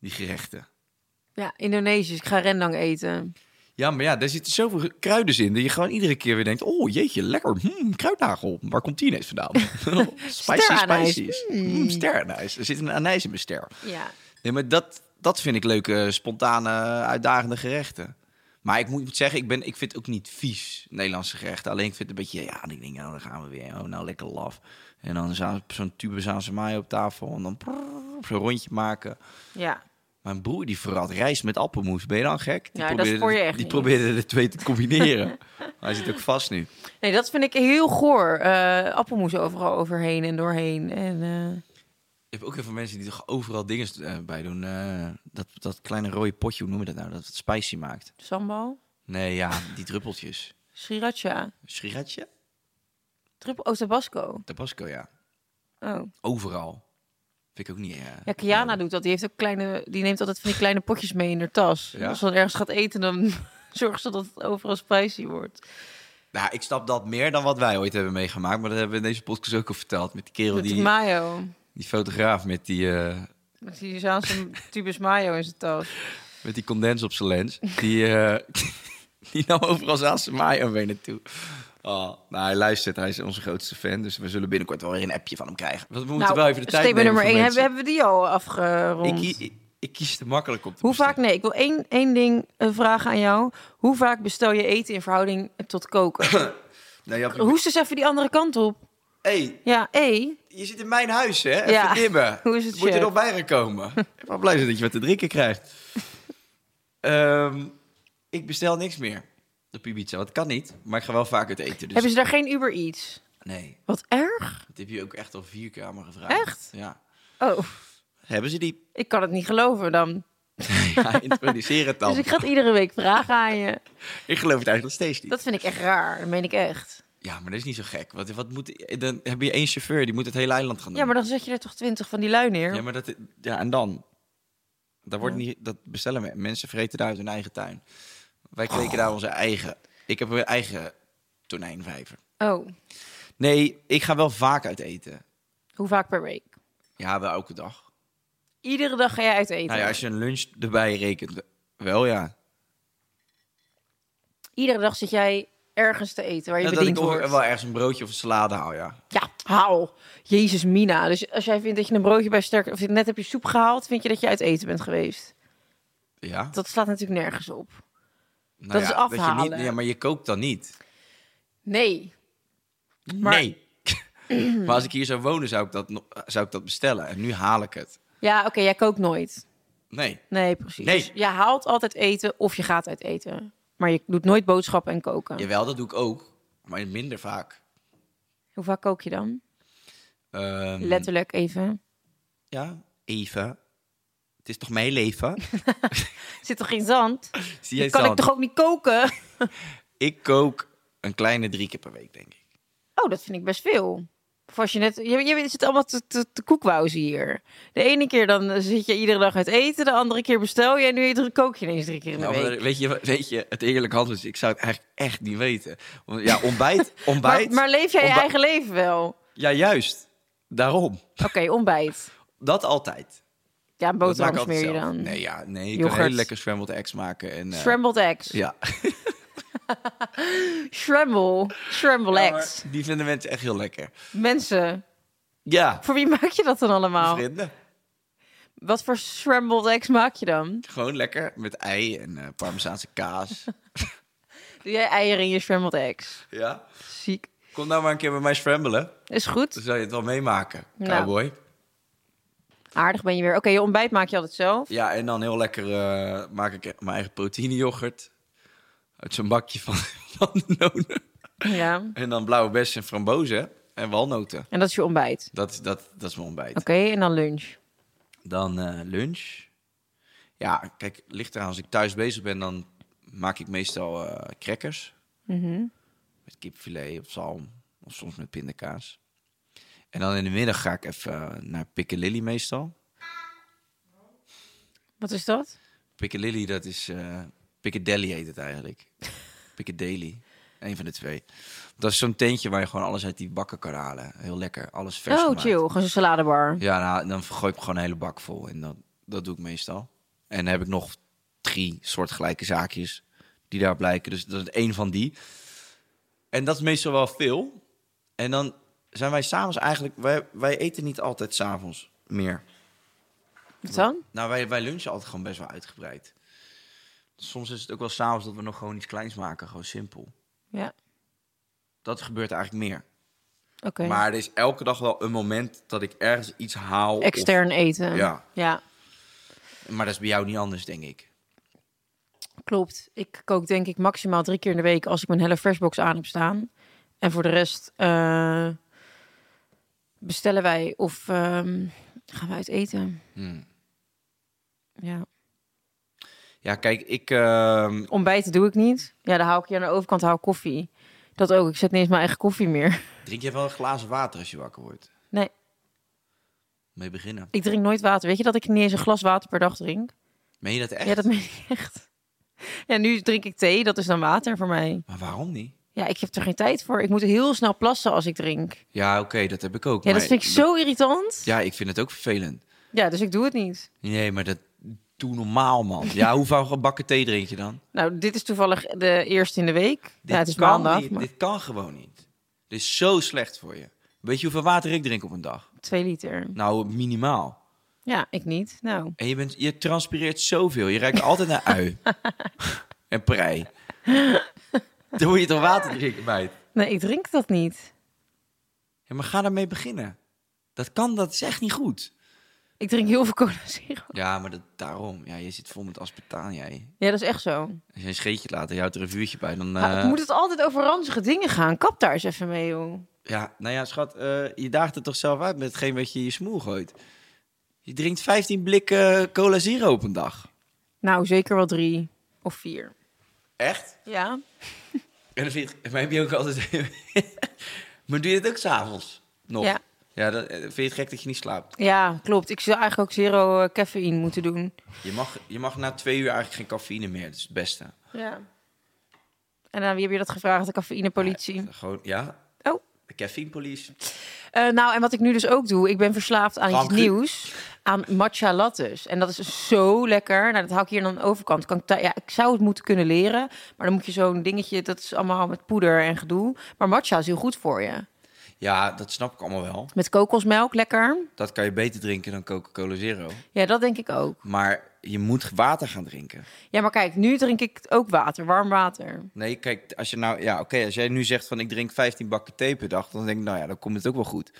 Speaker 2: die gerechten.
Speaker 6: Ja, Indonesisch. Ik ga rendang eten.
Speaker 2: Ja, maar ja, daar zitten zoveel kruiden in dat je gewoon iedere keer weer denkt... oh, jeetje, lekker, hmm, kruidnagel. Waar komt die ineens vandaan? spicy,
Speaker 6: Steranijs.
Speaker 2: spicy. Hmm, sterrenijs. Er zit een anijs in mijn ster.
Speaker 6: Ja.
Speaker 2: Nee, maar dat, dat vind ik leuke, spontane, uitdagende gerechten. Maar ik moet zeggen, ik, ben, ik vind het ook niet vies, Nederlandse gerechten. Alleen ik vind het een beetje, ja, ik denk, nou, dan gaan we weer. Oh, nou, lekker laf. En dan za- zo'n tube zaanse op tafel en dan prrr, zo'n rondje maken.
Speaker 6: Ja.
Speaker 2: Mijn broer die verraadt rijst met appelmoes. Ben je dan gek? Die
Speaker 6: Ja, dat is voor je echt
Speaker 2: Die
Speaker 6: niet.
Speaker 2: probeerde de twee te combineren. Maar hij zit ook vast nu.
Speaker 6: Nee, dat vind ik heel goor. Eh, appelmoes overal overheen en doorheen. En, eh,
Speaker 2: Ik heb ook heel veel mensen die toch overal dingen eh, bij doen. Eh, dat, dat kleine rode potje, hoe noem je dat nou? Dat het spicy maakt.
Speaker 6: sambal,
Speaker 2: Nee, ja, die druppeltjes.
Speaker 6: sriracha,
Speaker 2: Sriracha?
Speaker 6: triple oh, tabasco.
Speaker 2: Tabasco, ja.
Speaker 6: Oh.
Speaker 2: Overal. Vind ik ook niet... eh,
Speaker 6: Ja, Kiana doet dat. Die, heeft ook kleine, die neemt altijd van die kleine potjes mee in haar tas.
Speaker 2: Ja?
Speaker 6: Als ze dan ergens gaat eten, dan zorgt ze dat het overal spicy wordt.
Speaker 2: Nou, ik snap dat meer dan wat wij ooit hebben meegemaakt. Maar dat hebben we in deze podcast ook al verteld. Met die kerel,
Speaker 6: Met die
Speaker 2: Oh, die,
Speaker 6: mayo.
Speaker 2: die fotograaf met die, eh,
Speaker 6: Met die Zaanse tubus mayo in zijn tas.
Speaker 2: met die condens op zijn lens. Die, eh, die nam overal Zaanse mayo mee naartoe. Oh, nou, hij luistert. Hij is onze grootste fan. Dus we zullen binnenkort wel weer een appje van hem krijgen. Want We moeten wel even de tijd
Speaker 6: Nou, statement
Speaker 2: nemen
Speaker 6: nummer
Speaker 2: voor
Speaker 6: 1
Speaker 2: mensen.
Speaker 6: hebben, hebben we die al afgerond.
Speaker 2: ik, kie- ik, ik kies te makkelijk op. te
Speaker 6: Hoe vaak,
Speaker 2: bestellen.
Speaker 6: nee, ik wil één, één ding eh, vragen aan jou. Hoe vaak bestel je eten in verhouding tot koken?
Speaker 2: Nou, je had-
Speaker 6: Hoest eens even die andere kant op.
Speaker 2: hey,
Speaker 6: Ja, hé.
Speaker 2: je zit in mijn huis, hè? Even
Speaker 6: Ja.
Speaker 2: dimmen.
Speaker 6: Hoe is het,
Speaker 2: Moet er
Speaker 6: chef?
Speaker 2: nog bij gekomen. ik ben blij zijn dat je wat te drinken krijgt. Ehm, ik bestel niks meer op Ibiza. Want dat kan niet. Maar ik ga wel vaak uit eten. Dus...
Speaker 6: Hebben ze daar geen Uber Eats?
Speaker 2: Nee,
Speaker 6: Wat erg.
Speaker 2: dat heb je ook echt al vier keer aan me gevraagd.
Speaker 6: Echt?
Speaker 2: Ja.
Speaker 6: Oh,
Speaker 2: Hebben ze die?
Speaker 6: ik kan het niet geloven dan.
Speaker 2: Ja, introduceer het dan.
Speaker 6: Dus ik
Speaker 2: ik...
Speaker 6: ga het iedere week vragen aan je.
Speaker 2: geloof het eigenlijk nog steeds niet.
Speaker 6: Dat vind ik echt raar. Dat meen ik echt.
Speaker 2: Ja, maar dat is niet zo gek. Want wat moet... Dan heb je één chauffeur, die moet het hele eiland gaan doen.
Speaker 6: Ja, maar dan zet je er toch twintig van die lui neer.
Speaker 2: Ja, maar dat, ja en dan? Daar wordt niet, dat bestellen we. Mensen vreten daar uit hun eigen tuin. Wij kweken daar onze eigen. Ik heb een eigen tonijnvijver.
Speaker 6: Oh,
Speaker 2: Nee, ik ga wel vaak uit eten.
Speaker 6: hoe vaak per week?
Speaker 2: Ja, wel elke dag.
Speaker 6: Iedere dag ga jij uit eten.
Speaker 2: Nou ja, als je een lunch erbij rekent, wel ja.
Speaker 6: Iedere dag zit jij ergens te eten waar je
Speaker 2: Ja, dat
Speaker 6: bediend
Speaker 2: ik ook
Speaker 6: wordt.
Speaker 2: wel ergens een broodje of een salade hou, ja.
Speaker 6: Ja, hou. Jezus, Mina. Dus als jij vindt dat je een broodje bij Sterk... of net heb je soep gehaald, vind je dat je uit eten bent geweest.
Speaker 2: Ja,
Speaker 6: Dat slaat natuurlijk nergens op.
Speaker 2: Nou
Speaker 6: dat is
Speaker 2: ja, je
Speaker 6: afhalen.
Speaker 2: niet, ja, maar je kookt dan niet.
Speaker 6: Nee.
Speaker 2: Nee. maar als ik hier zou wonen, zou ik, dat, no- zou ik dat bestellen. En nu haal ik het.
Speaker 6: Ja, oké, jij kookt nooit.
Speaker 2: Nee.
Speaker 6: Nee, precies.
Speaker 2: Nee.
Speaker 6: Dus je haalt altijd eten of je gaat uit eten. Maar je doet nooit boodschappen en koken.
Speaker 2: Jawel, dat doe ik ook. Maar minder vaak.
Speaker 6: Hoe vaak kook je dan?
Speaker 2: Ehm,
Speaker 6: Letterlijk even.
Speaker 2: Ja, even. Het is toch mijn leven?
Speaker 6: Zit toch geen zand?
Speaker 2: Zie
Speaker 6: Dan
Speaker 2: jij
Speaker 6: kan
Speaker 2: dan?
Speaker 6: ik toch ook niet koken?
Speaker 2: Ik kook een kleine drie keer per week, denk ik.
Speaker 6: Oh, dat vind ik best veel. Of als je net... Je, je zit allemaal te, te, te koekwauzen hier. De ene keer dan eh, zit je iedere dag uit eten. De andere keer bestel je. En nu eet- kook je ineens drie keer in de
Speaker 2: Nou,
Speaker 6: week.
Speaker 2: maar weet, je, weet je, het eerlijke antwoord is, ik zou het eigenlijk echt niet weten. Want Ja, ontbijt, ontbijt.
Speaker 6: Maar, maar leef jij je
Speaker 2: ontbij-
Speaker 6: eigen leven wel? Oké,
Speaker 2: Ja, juist. Daarom.
Speaker 6: ontbijt.
Speaker 2: Dat altijd.
Speaker 6: Ja, een
Speaker 2: dat maak ik
Speaker 6: boterham
Speaker 2: altijd
Speaker 6: smeer je
Speaker 2: zelf.
Speaker 6: dan.
Speaker 2: Nee, ja, nee. Ik
Speaker 6: Yoghurt.
Speaker 2: kan heel lekker scrambled eggs maken. En, eh,
Speaker 6: Scrambled eggs.
Speaker 2: Ja.
Speaker 6: Scramble. Scramble
Speaker 2: Ja,
Speaker 6: eggs.
Speaker 2: maar Die vinden mensen echt heel lekker.
Speaker 6: Mensen,
Speaker 2: Ja.
Speaker 6: voor wie maak je dat dan allemaal?
Speaker 2: Vrienden.
Speaker 6: Wat voor scrambled eggs maak je dan?
Speaker 2: Gewoon lekker met ei en eh parmezaanse kaas.
Speaker 6: Doe jij eieren in je scrambled eggs?
Speaker 2: ja.
Speaker 6: Ziek.
Speaker 2: Kom nou maar een keer bij mij scramblen.
Speaker 6: Is
Speaker 2: Dan
Speaker 6: goed.
Speaker 2: zou je het wel meemaken,
Speaker 6: Nou.
Speaker 2: cowboy.
Speaker 6: Aardig ben je weer. Oké, je ontbijt maak je altijd zelf.
Speaker 2: Ja, en dan heel lekker eh, maak ik mijn eigen proteïneyoghurt. Uit zo'n bakje van, van de nonen.
Speaker 6: Ja.
Speaker 2: En dan blauwe bessen en frambozen en walnoten.
Speaker 6: En dat is je ontbijt.
Speaker 2: Dat, is- dat, dat is mijn ontbijt.
Speaker 6: Oké, en dan lunch.
Speaker 2: Dan eh, lunch. Ja, kijk, ligt eraan. Als ik thuis bezig ben, dan maak ik meestal eh, crackers. Met kipfilet of zalm. Of soms met pindakaas. En dan in de middag ga ik even eh, naar Piccadilly meestal.
Speaker 6: Wat is dat?
Speaker 2: Piccadilly, dat is... eh Piccadilly heet het eigenlijk. Piccadilly. Een van de twee. Dat is zo'n tentje waar je gewoon alles uit die bakken kan halen. Heel lekker. Alles vers
Speaker 6: oh,
Speaker 2: gemaakt.
Speaker 6: chill. Gewoon een saladebar.
Speaker 2: Ja, nou, dan gooi ik gewoon een hele bak vol. En dan, dat doe ik meestal. En dan heb ik nog drie soortgelijke zaakjes die daar blijken. Dus dat is één van die. En dat is meestal wel veel. En dan zijn wij s'avonds eigenlijk... Wij, wij eten niet altijd s'avonds meer.
Speaker 6: Wat dan?
Speaker 2: Nou, wij, wij lunchen altijd gewoon best wel uitgebreid. Soms is het ook wel s'avonds dat we nog gewoon iets kleins maken. Gewoon simpel.
Speaker 6: Ja,
Speaker 2: Dat gebeurt eigenlijk meer.
Speaker 6: oké.
Speaker 2: Maar er is elke dag wel een moment dat ik ergens iets haal. of-
Speaker 6: Extern eten.
Speaker 2: Ja.
Speaker 6: ja,
Speaker 2: maar dat is bij jou niet anders, denk ik.
Speaker 6: klopt. Ik kook denk ik maximaal drie keer in de week als ik mijn hele freshbox aan heb staan. En voor de rest eh, bestellen wij of ehm, gaan we uit eten.
Speaker 2: Hmm.
Speaker 6: Ja.
Speaker 2: Ja, kijk, ik... ehm,
Speaker 6: Ontbijten doe ik niet. Ja, dan haal ik hier aan de overkant haal ik koffie. Dat ook. Ik zet niet eens mijn eigen koffie meer.
Speaker 2: drink je wel een glazen water als je wakker wordt?
Speaker 6: Nee,
Speaker 2: Mee beginnen.
Speaker 6: ik drink nooit water. Weet je dat ik niet eens een glas water per dag drink?
Speaker 2: Meen je dat echt?
Speaker 6: Ja, dat meen ik echt. Ja, nu drink ik thee. Dat is dan water voor mij.
Speaker 2: Maar waarom niet?
Speaker 6: Ja, ik heb er geen tijd voor. Ik moet heel snel plassen als ik drink.
Speaker 2: Ja, oké, dat heb ik ook.
Speaker 6: Ja,
Speaker 2: maar-
Speaker 6: dat vind ik zo irritant.
Speaker 2: Ja, ik vind het ook vervelend.
Speaker 6: Ja, dus ik doe het niet.
Speaker 2: Nee, maar dat... Doe normaal, man. Ja, hoeveel bakken thee drink je dan?
Speaker 6: Nou, dit is toevallig de eerste in de week. ja, het is
Speaker 2: kan
Speaker 6: maandag.
Speaker 2: niet,
Speaker 6: maar
Speaker 2: Dit kan gewoon niet. Dit is zo slecht voor je. Weet je hoeveel water ik drink op een dag?
Speaker 6: Twee liter.
Speaker 2: Nou, minimaal.
Speaker 6: Ja, ik niet. Nou,
Speaker 2: En je, bent, je transpireert zoveel. Je ruikt altijd naar ui. en prei. Dan moet je toch water drinken, meid?
Speaker 6: nee, ik drink dat niet.
Speaker 2: Ja, maar ga daarmee beginnen. Dat kan, dat is echt niet goed.
Speaker 6: Ik drink heel veel cola zero.
Speaker 2: Ja, maar dat, daarom. Ja, je zit vol met aspartaan, jij.
Speaker 6: Ja, dat is echt zo.
Speaker 2: Als je een scheetje laat en je houdt er een vuurtje bij, dan...
Speaker 6: Maar
Speaker 2: eh,
Speaker 6: het moet het altijd over ranzige dingen gaan? Kap daar eens even mee, joh.
Speaker 2: Ja, nou ja, schat, eh, je daagt het toch zelf uit met hetgeen wat je in je smoel gooit. Je drinkt 15 blikken cola zero op een dag.
Speaker 6: Nou, zeker wel drie of vier.
Speaker 2: Echt?
Speaker 6: Ja.
Speaker 2: En dan vind je, maar heb je ook altijd... maar doe je het ook s'avonds nog?
Speaker 6: Ja.
Speaker 2: Ja, dat, eh, vind je het gek dat je niet slaapt?
Speaker 6: Ja, klopt. Ik zou eigenlijk ook zero eh, cafeïne moeten doen.
Speaker 2: Je mag, je mag na twee uur eigenlijk geen cafeïne meer. Dat is het beste.
Speaker 6: Ja. En aan wie heb je dat gevraagd? De cafeïnepolitie.
Speaker 2: Gewoon, ja,
Speaker 6: Oh.
Speaker 2: de caffeine police.
Speaker 6: Eh, nou, en wat ik nu dus ook doe, ik ben verslaafd aan iets
Speaker 2: Ramgu-
Speaker 6: nieuws. Aan matcha lattes. En dat is dus zo lekker. Nou, dat haal ik hier aan de overkant. Kan ik, thu- ja, ik zou het moeten kunnen leren. Maar dan moet je zo'n dingetje, dat is allemaal met poeder en gedoe. Maar matcha is heel goed voor je.
Speaker 2: Ja, dat snap ik allemaal wel.
Speaker 6: Met kokosmelk, lekker.
Speaker 2: Dat kan je beter drinken dan Coca-Cola Zero.
Speaker 6: Ja, dat denk ik ook.
Speaker 2: Maar je moet water gaan drinken.
Speaker 6: Ja, maar kijk, nu drink ik ook water, warm water.
Speaker 2: Nee, kijk, als je nou, ja, oké, als jij nu zegt van ik drink 15 bakken thee per dag, dan denk ik, nou ja, dan komt het ook wel goed.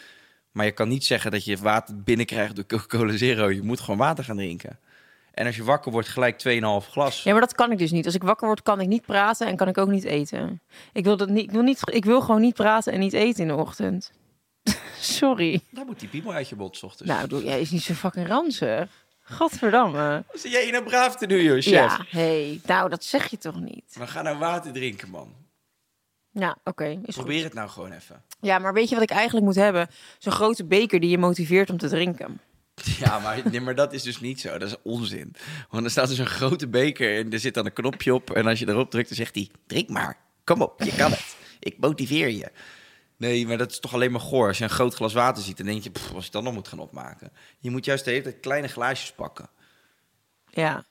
Speaker 2: Maar je kan niet zeggen dat je water binnenkrijgt door Coca-Cola Zero. Je moet gewoon water gaan drinken. En als je wakker wordt, gelijk 2,5 glas.
Speaker 6: Ja, maar dat kan ik dus niet. Als ik wakker word, kan ik niet praten en kan ik ook niet eten. Ik wil, dat niet, ik wil, niet, ik wil gewoon niet praten en niet eten in de ochtend. Sorry.
Speaker 2: Daar moet die piemel uit je bot 's ochtends.
Speaker 6: Nou, doe, jij is niet zo fucking ranzig. Gadverdamme.
Speaker 2: Zit jij nou braaf te doen, joh, chef?
Speaker 6: Ja, hey, nou, dat zeg je toch niet?
Speaker 2: Maar ga nou water drinken, man.
Speaker 6: Nou, oké. is goed.
Speaker 2: Probeer het nou gewoon even.
Speaker 6: Ja, maar weet je wat ik eigenlijk moet hebben? Zo'n grote beker die je motiveert om te drinken.
Speaker 2: Ja, maar, nee, maar dat is dus niet zo. Dat is onzin. Want er staat dus een grote beker en er zit dan een knopje op. En als je erop drukt, dan zegt hij, drink maar. Kom op, je kan het. Ik motiveer je. Nee, maar dat is toch alleen maar goor. Als je een groot glas water ziet, dan denk je, "Pff, als ik dat nog moet gaan opmaken. Je moet juist de hele tijd kleine glaasjes pakken.
Speaker 6: Ja.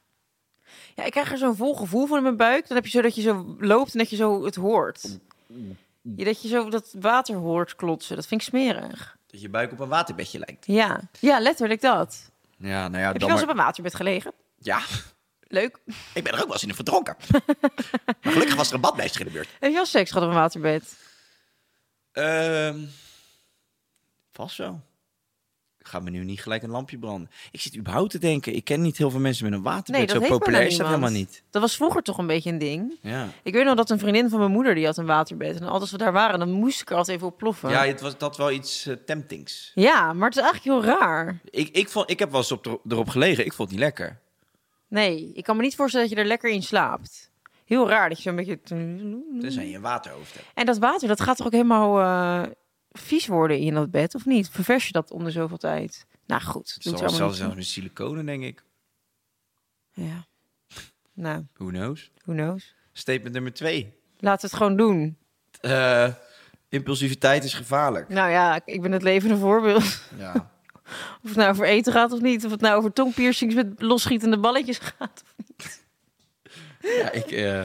Speaker 6: Ja, ik krijg er zo'n vol gevoel van in mijn buik. Dan heb je zo dat je zo loopt en dat je zo het hoort. Ja, dat je zo dat water hoort klotsen. Dat vind ik smerig.
Speaker 2: Dat je buik op een waterbedje lijkt.
Speaker 6: Ja, ja letterlijk dat.
Speaker 2: Ja, nou ja,
Speaker 6: Heb je
Speaker 2: dan
Speaker 6: wel eens op
Speaker 2: maar-
Speaker 6: een waterbed gelegen?
Speaker 2: Ja,
Speaker 6: Leuk.
Speaker 2: ik ben er ook wel eens in verdronken. maar gelukkig was er een badmeester in de buurt.
Speaker 6: Heb je al seks gehad op een waterbed?
Speaker 2: Ehm vast wel. Ik ga me nu niet gelijk een lampje branden. Ik zit überhaupt te denken, ik ken niet heel veel mensen met een waterbed.
Speaker 6: Nee, dat
Speaker 2: Zo
Speaker 6: heeft
Speaker 2: populair
Speaker 6: bijna
Speaker 2: is dat
Speaker 6: niemand.
Speaker 2: helemaal niet.
Speaker 6: Dat was vroeger toch een beetje een ding.
Speaker 2: Ja,
Speaker 6: Ik weet nog dat een vriendin van mijn moeder die had een waterbed. En altijd als we daar waren, dan moest ik er altijd even op ploffen.
Speaker 2: ja
Speaker 6: Ja,
Speaker 2: het was dat wel iets eh, temptings.
Speaker 6: maar het is eigenlijk heel raar.
Speaker 2: Ik, ik, vond, ik heb wel eens op, de- erop gelegen, ik vond het niet lekker.
Speaker 6: Nee, ik kan me niet voorstellen dat je er lekker in slaapt. Heel raar dat je zo'n beetje...
Speaker 2: Tenzij je een waterhoofd hebt.
Speaker 6: En dat water, dat gaat toch ook helemaal eh, vies worden in dat bed, of niet? Ververs je dat om de zoveel tijd? Nou goed,
Speaker 2: Het
Speaker 6: doet
Speaker 2: zal
Speaker 6: er
Speaker 2: wel
Speaker 6: allemaal
Speaker 2: zelfs
Speaker 6: niet toe.
Speaker 2: zelfs met siliconen, denk ik.
Speaker 6: Ja. Nou,
Speaker 2: Who knows?
Speaker 6: who knows?
Speaker 2: Statement nummer twee.
Speaker 6: Laten we het gewoon doen.
Speaker 2: Eh, impulsiviteit is gevaarlijk.
Speaker 6: Nou ja, ik- ik ben het levende voorbeeld.
Speaker 2: Ja.
Speaker 6: Of het nou over eten gaat of niet. Of het nou over tongpiercings met losschietende balletjes gaat.
Speaker 2: Ja, ik, eh,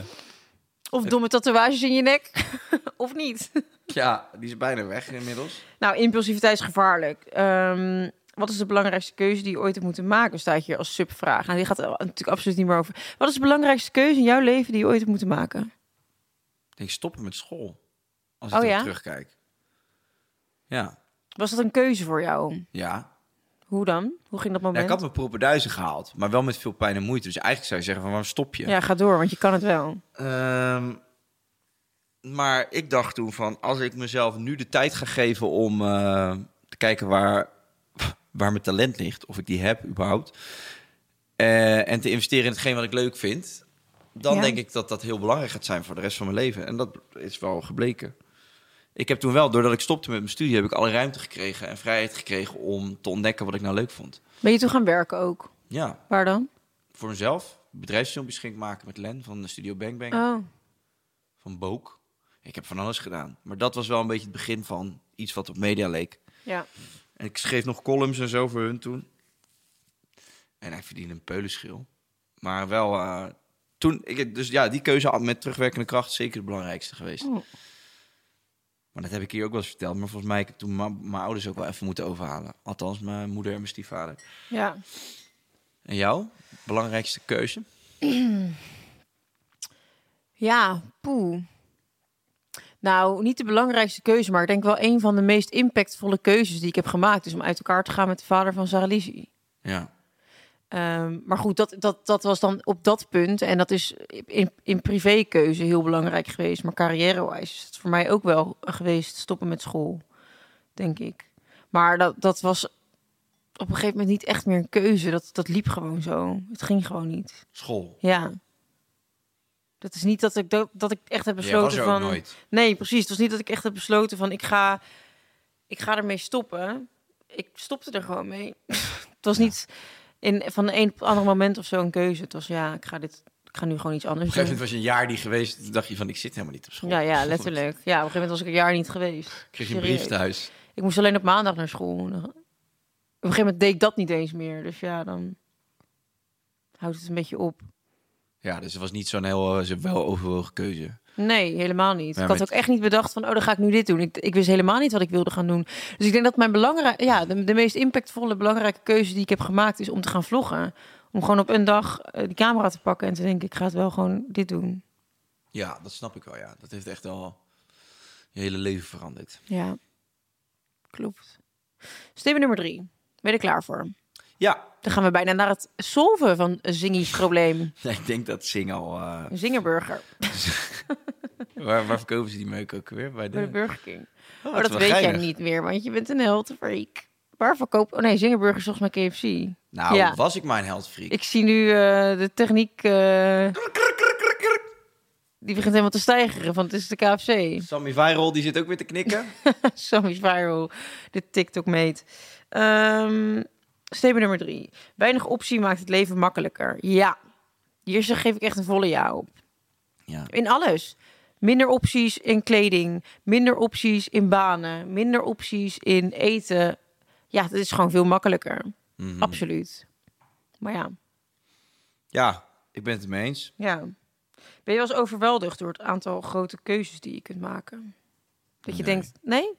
Speaker 6: Of domme tatoeages in je nek. of niet.
Speaker 2: ja, die is bijna weg inmiddels.
Speaker 6: Nou, impulsiviteit is gevaarlijk. Ehm, wat is de belangrijkste keuze die je ooit hebt moeten maken? Staat hier als subvraag. Nou, die gaat er natuurlijk absoluut niet meer over. Wat is de belangrijkste keuze in jouw leven die je ooit hebt moeten maken?
Speaker 2: Ik denk stoppen met school. Als ik
Speaker 6: Oh
Speaker 2: erop
Speaker 6: ja?
Speaker 2: terugkijk. Ja,
Speaker 6: Was dat een keuze voor jou?
Speaker 2: ja.
Speaker 6: Hoe dan? Hoe ging dat
Speaker 2: Ja, ik
Speaker 6: moment?
Speaker 2: had mijn propenduizen gehaald, maar wel met veel pijn en moeite. Dus eigenlijk zou je zeggen van waarom stop je?
Speaker 6: Ja, ga door, want je kan het wel.
Speaker 2: Ehm, maar ik dacht toen van, als ik mezelf nu de tijd ga geven om eh, te kijken waar, waar mijn talent ligt, of ik die heb überhaupt, eh, en te investeren in hetgeen wat ik leuk vind, dan
Speaker 6: Ja.
Speaker 2: denk ik dat dat heel belangrijk gaat zijn voor de rest van mijn leven. En dat is wel gebleken. Ik heb toen wel, doordat ik stopte met mijn studie, heb ik alle ruimte gekregen en vrijheid gekregen om te ontdekken wat ik nou leuk vond.
Speaker 6: Ben je toen gaan werken ook?
Speaker 2: Ja,
Speaker 6: Waar dan?
Speaker 2: voor mezelf bedrijfsfilmpjes ging ik maken met Len van de studio Bang Bang,
Speaker 6: Oh,
Speaker 2: van Book. Ik heb van alles gedaan. Maar dat was wel een beetje het begin van iets wat op media leek.
Speaker 6: ja.
Speaker 2: En ik schreef nog columns en zo voor hun toen. En hij verdiende een peulenschil. Maar wel, eh, toen, ik, dus ja, die keuze had met terugwerkende kracht zeker de belangrijkste geweest.
Speaker 6: Oh.
Speaker 2: Maar dat heb ik hier ook wel eens verteld. Maar volgens mij heb ik toen ma- mijn ouders ook wel even moeten overhalen. Althans, mijn moeder en mijn stiefvader.
Speaker 6: Ja.
Speaker 2: En jou? Belangrijkste keuze?
Speaker 6: Ja, poeh. Nou, niet de belangrijkste keuze, maar ik denk wel een van de meest impactvolle keuzes die ik heb gemaakt. Is om uit elkaar te gaan met de vader van Sarah Lizzie.
Speaker 2: Ja.
Speaker 6: Ehm, maar goed, dat, dat, dat was dan op dat punt. En dat is in, in privékeuze heel belangrijk geweest. Maar carrière-wijs is het voor mij ook wel geweest stoppen met school, denk ik. Maar dat, dat was op een gegeven moment niet echt meer een keuze. Dat, dat liep gewoon zo. Het ging gewoon niet.
Speaker 2: School.
Speaker 6: Ja. Dat is niet dat ik, dat, dat ik echt heb
Speaker 2: was
Speaker 6: besloten
Speaker 2: er ook
Speaker 6: van...
Speaker 2: nooit.
Speaker 6: Nee, precies. Het was niet dat ik echt heb besloten van... ik ga, ik ga ermee stoppen. Ik stopte er gewoon mee. het was niet in, van de een op het andere moment of zo een keuze. Het was ja, ik ga, dit, ik ga nu gewoon iets
Speaker 2: Op
Speaker 6: anders
Speaker 2: een gegeven moment
Speaker 6: doen.
Speaker 2: was je een jaar die geweest. Toen dacht je van, ik zit helemaal niet op school.
Speaker 6: Ja, ja, letterlijk. Ja, op een gegeven moment was ik een jaar niet geweest.
Speaker 2: kreeg je een brief
Speaker 6: Serieus.
Speaker 2: thuis.
Speaker 6: Ik moest alleen op maandag naar school. Op een gegeven moment deed ik dat niet eens meer. Dus ja, dan houdt het een beetje op.
Speaker 2: Ja, dus het was niet zo'n heel eh, zo'n wel overwogen keuze.
Speaker 6: Nee, helemaal niet.
Speaker 2: Ja,
Speaker 6: ik
Speaker 2: met-
Speaker 6: had ook echt niet bedacht van, oh, dan ga ik nu dit doen. Ik, ik wist helemaal niet wat ik wilde gaan doen. Dus ik denk dat mijn belangrijke, ja, de, de meest impactvolle, belangrijke keuze die ik heb gemaakt is om te gaan vloggen. Om gewoon op een dag eh, die camera te pakken en te denken, ik ga het wel gewoon dit doen.
Speaker 2: Ja, dat snap ik wel, ja. Dat heeft echt al je hele leven veranderd.
Speaker 6: Ja, klopt. Stap nummer drie. Ben je er klaar voor?
Speaker 2: Ja,
Speaker 6: Dan gaan we bijna naar het solven van Zingy's probleem.
Speaker 2: ik denk dat Sing al... eh,
Speaker 6: Zingerburger,
Speaker 2: waar, waar verkopen ze die meuk ook weer? Bij de...
Speaker 6: bij de Burger King.
Speaker 2: Oh,
Speaker 6: Maar
Speaker 2: is
Speaker 6: dat
Speaker 2: wel
Speaker 6: weet jij
Speaker 2: geinig.
Speaker 6: niet meer, want je bent een heldfreak. Waar verkoop... Oh nee, Zingerburger is volgens mij KFC.
Speaker 2: Nou,
Speaker 6: Ja.
Speaker 2: was ik mijn heldfreak.
Speaker 6: Ik zie nu eh, de techniek. eh, die begint helemaal te stijgeren, want het is de KFC.
Speaker 2: Sammy Viral, die zit ook weer te knikken.
Speaker 6: Sammy's viral, de TikTok-meet. Ehm statement nummer drie. Weinig optie maakt het leven makkelijker. Ja, hier zeg- geef ik echt een volle ja op.
Speaker 2: ja.
Speaker 6: In alles. Minder opties in kleding, minder opties in banen, minder opties in eten. Ja, dat is gewoon veel makkelijker. Absoluut. Maar ja,
Speaker 2: ja, ik ben het ermee eens.
Speaker 6: Ja. Ben je wel eens overweldigd door het aantal grote keuzes die je kunt maken? Dat je
Speaker 2: Nee.
Speaker 6: denkt, nee?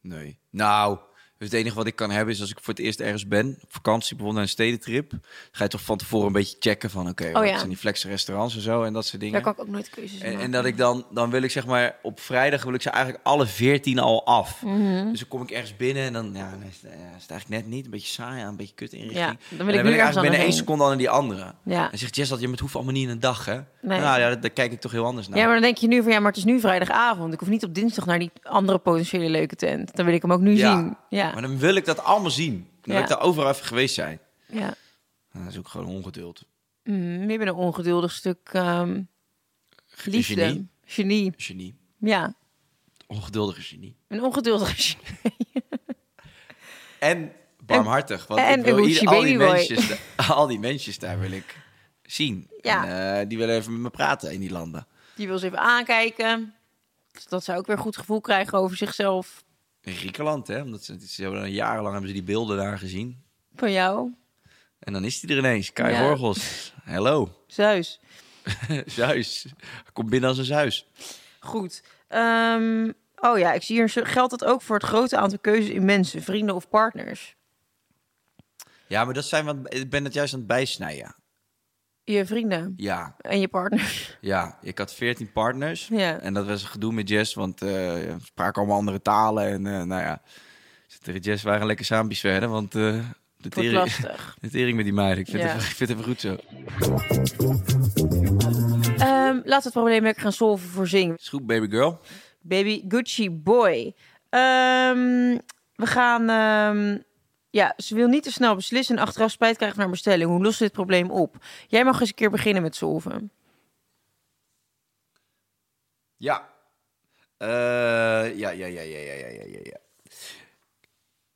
Speaker 2: Nee. Nou, het enige wat ik kan hebben is als ik voor het eerst ergens ben, op vakantie, bijvoorbeeld naar een stedentrip, ga je toch van tevoren een beetje checken van, oké, wat
Speaker 6: Oh ja.
Speaker 2: zijn die flex restaurants en zo en dat soort dingen.
Speaker 6: Daar kan ik ook nooit keuzes in
Speaker 2: En,
Speaker 6: maken.
Speaker 2: en dat ik dan, dan wil ik zeg maar op vrijdag wil ik ze eigenlijk alle veertien al af.
Speaker 6: Mhm.
Speaker 2: Dus dan kom ik ergens binnen en dan, ja, dan is, het, eh, is het eigenlijk net niet. Een beetje saai aan, een beetje kut inrichting.
Speaker 6: Ja, dan
Speaker 2: En
Speaker 6: wil ik nu ergens
Speaker 2: eigenlijk binnen
Speaker 6: anders
Speaker 2: één
Speaker 6: heen.
Speaker 2: seconde al in die andere.
Speaker 6: Ja.
Speaker 2: En zegt Jess dat je het hoeft allemaal niet in een dag, hè?
Speaker 6: Nee.
Speaker 2: Nou ja, dat- daar kijk ik toch heel anders naar.
Speaker 6: Ja, maar dan denk je nu van, ja, maar het is nu vrijdagavond. Ik hoef niet op dinsdag naar die andere potentiële leuke tent. Dan wil ik hem ook nu
Speaker 2: Ja.
Speaker 6: zien. Ja.
Speaker 2: Maar dan wil ik dat allemaal zien. Dan wil
Speaker 6: Ja.
Speaker 2: ik daar overal even geweest zijn.
Speaker 6: ja.
Speaker 2: Nou, dat is ook gewoon ongeduld.
Speaker 6: Mm, je bent een ongeduldig stuk ehm liefde.
Speaker 2: Genie.
Speaker 6: Genie,
Speaker 2: Genie.
Speaker 6: ja.
Speaker 2: Ongeduldige genie.
Speaker 6: Een ongeduldig genie.
Speaker 2: En barmhartig. Want
Speaker 6: en
Speaker 2: ik wil
Speaker 6: een
Speaker 2: ieder-
Speaker 6: Gucci
Speaker 2: al, die
Speaker 6: babyboy.
Speaker 2: mensjes, da- al die mensjes daar wil ik zien.
Speaker 6: Ja.
Speaker 2: En, eh, die willen even met me praten in die landen.
Speaker 6: Die wil ze even aankijken. Dus dat ze ook weer een goed gevoel krijgen over zichzelf.
Speaker 2: in Griekenland, hè? Omdat ze, ze hebben dan jarenlang hebben ze die beelden daar gezien.
Speaker 6: Van jou,
Speaker 2: En dan is hij er ineens. Kai
Speaker 6: Ja.
Speaker 2: Gorgels. Hello.
Speaker 6: Zeus.
Speaker 2: Zeus. Kom binnen als een Zeus.
Speaker 6: Goed. Ehm, oh ja, ik zie hier, geldt dat ook voor het grote aantal keuzes in mensen, vrienden of partners?
Speaker 2: Ja, maar dat zijn wat. Ik ben het juist aan het bijsnijden.
Speaker 6: Je vrienden
Speaker 2: Ja,
Speaker 6: en je partners.
Speaker 2: ja. Ik had veertien partners.
Speaker 6: Ja.
Speaker 2: En dat was een gedoe met Jess, want eh we spraken allemaal andere talen. En eh, nou ja, dus tegen Jess waren lekker saampies verder, want eh de,
Speaker 6: Wordt
Speaker 2: tering,
Speaker 6: lastig.
Speaker 2: de tering met die meiden. Ik vind,
Speaker 6: Ja.
Speaker 2: het, even- ik vind het even goed zo.
Speaker 6: Ehm laten we het probleem lekker gaan solven voor zing.
Speaker 2: Is goed, baby girl.
Speaker 6: Baby Gucci Boy. Ehm, we gaan. ehm, ja, ze wil niet te snel beslissen en achteraf spijt krijgen naar bestelling. Hoe lost dit probleem op? Jij mag eens een keer beginnen met solven.
Speaker 2: Ja. Eh, ja, ja, ja, ja, ja, ja, ja, ja, ja.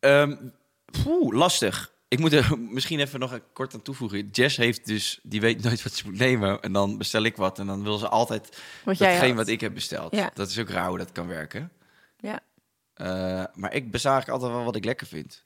Speaker 2: Ehm, poeh, lastig. Ik moet er misschien even nog een kort aan toevoegen. Jess heeft dus, die weet nooit wat ze moet nemen. En dan bestel ik wat. En dan wil ze altijd
Speaker 6: Wat jij
Speaker 2: datgene
Speaker 6: had.
Speaker 2: wat ik heb besteld.
Speaker 6: Ja.
Speaker 2: Dat is ook raar hoe dat kan werken.
Speaker 6: Ja.
Speaker 2: Eh, maar ik bezaag altijd wel wat ik lekker vind.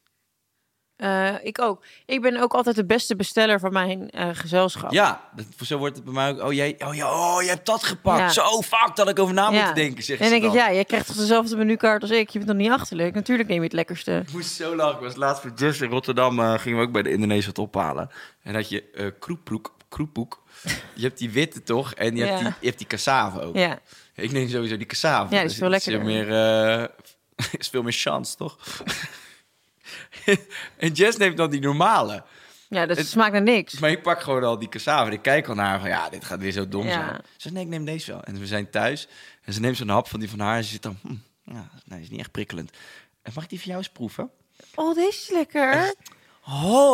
Speaker 6: Eh, ik ook. Ik ben ook altijd de beste besteller van mijn eh, gezelschap.
Speaker 2: Ja, dat, zo wordt het bij mij ook. Oh, jij, oh, jij, oh, jij hebt dat gepakt.
Speaker 6: Ja.
Speaker 2: Zo vaak dat ik over na
Speaker 6: Ja.
Speaker 2: moet denken, zegt
Speaker 6: en
Speaker 2: ze
Speaker 6: dan denk
Speaker 2: dan.
Speaker 6: ik, ja, jij krijgt toch dezelfde menukaart als ik. Je bent nog niet achterlijk. Natuurlijk neem je het lekkerste.
Speaker 2: Ik moest zo lachen. Ik was laatst met Jess in Rotterdam. eh, gingen we ook bij de Indonesië wat ophalen. En dat je eh kroepbroek, kroepboek. Je hebt die witte toch? En je, hebt,
Speaker 6: Ja.
Speaker 2: die, je hebt die cassave ook.
Speaker 6: Ja.
Speaker 2: Ik neem sowieso die cassave. Dus
Speaker 6: Ja, die is veel
Speaker 2: dat Is
Speaker 6: lekkerder.
Speaker 2: meer, eh, is veel meer chance, toch? en Jess neemt dan die normale.
Speaker 6: Ja, dat
Speaker 2: Het-
Speaker 6: smaakt naar niks.
Speaker 2: Maar ik pak gewoon al die cassave. En ik kijk al naar haar van, ja, dit gaat weer zo dom
Speaker 6: Ja.
Speaker 2: zijn. Ze zegt, nee, ik neem deze wel. En we zijn thuis. En ze neemt zo'n hap van die van haar. En ze zit dan, hm, ja, nee, is niet echt prikkelend. En mag ik die voor jou eens proeven?
Speaker 6: Oh, deze is lekker.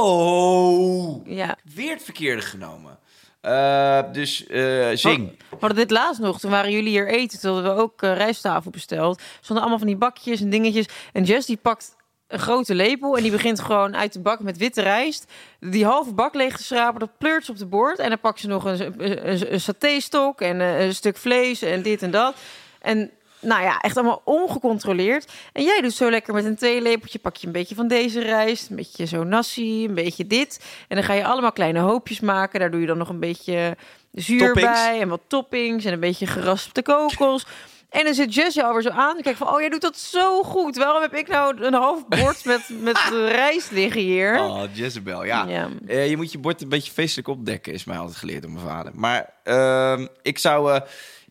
Speaker 2: Ho!
Speaker 6: Ja.
Speaker 2: Weer het verkeerde genomen. Eh, dus eh, zing.
Speaker 6: We hadden dit laatst nog, toen waren jullie hier eten, toen hadden we ook eh, rijsttafel besteld. Stonden allemaal van die bakjes en dingetjes. En Jess die pakt een grote lepel en die begint gewoon uit de bak met witte rijst. Die halve bak leeg te schrapen, dat pleurt ze op de bord. En dan pakt ze nog een, een, een, een satéstok en eh, een stuk vlees en dit en dat. En nou ja, echt allemaal ongecontroleerd. En jij doet zo lekker met een theelepeltje, pak je een beetje van deze rijst, een beetje zo nasi, een beetje dit. En dan ga je allemaal kleine hoopjes maken. Daar doe je dan nog een beetje zuur
Speaker 2: Toppings.
Speaker 6: bij en wat toppings en een beetje geraspte kokos. En dan zit Jess jou alweer zo aan. te kijken van, oh, jij doet dat zo goed. Waarom heb ik nou een half bord met, met rijst liggen hier?
Speaker 2: Oh, Jezebel, ja.
Speaker 6: Ja.
Speaker 2: Eh, je moet je bord een beetje feestelijk opdekken, is mij altijd geleerd door mijn vader. Maar ehm, ik zou... eh,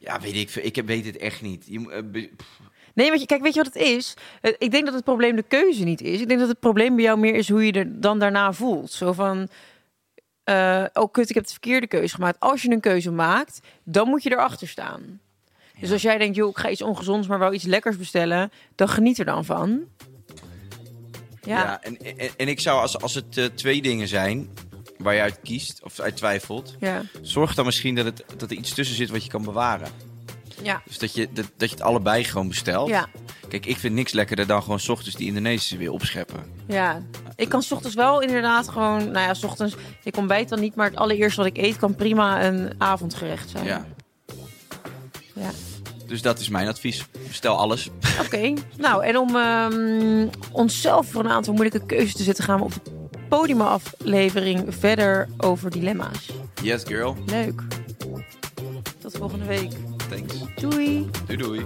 Speaker 2: ja, weet ik, veel. ik heb- weet het echt niet. Je, moet, eh, be- pff,
Speaker 6: Nee, want je, kijk, weet je wat het is? Eh, Ik denk dat het probleem de keuze niet is. Ik denk dat het probleem bij jou meer is hoe je er dan daarna voelt. Zo van, eh, oh kut, ik heb de verkeerde keuze gemaakt. Als je een keuze maakt, dan moet je erachter staan. Dus als jij denkt, joh, ik ga iets ongezonds, maar wel iets lekkers bestellen, dan geniet er dan van.
Speaker 2: ja.
Speaker 6: Ja,
Speaker 2: en, en, en ik zou, als, als het eh, twee dingen zijn waar je uit kiest of uit twijfelt...
Speaker 6: ja,
Speaker 2: Zorg dan misschien dat, het, dat er iets tussen zit wat je kan bewaren.
Speaker 6: ja,
Speaker 2: Dus dat je, dat, dat je het allebei gewoon bestelt.
Speaker 6: ja.
Speaker 2: Kijk, ik vind niks lekkerder dan gewoon 's ochtends die Indonesische weer opscheppen.
Speaker 6: ja. Ik kan 's ochtends wel inderdaad gewoon, nou ja, 's ochtends, ik ontbijt dan niet, maar het allereerste wat ik eet kan prima een avondgerecht zijn.
Speaker 2: Ja.
Speaker 6: ja.
Speaker 2: Dus dat is mijn advies. Bestel alles.
Speaker 6: Oké, nou en om ehm, onszelf voor een aantal moeilijke keuzes te zetten, gaan we op de podiumaflevering verder over dilemma's.
Speaker 2: Yes, girl.
Speaker 6: Leuk. Tot volgende week.
Speaker 2: Thanks.
Speaker 6: Doei.
Speaker 2: Doei doei.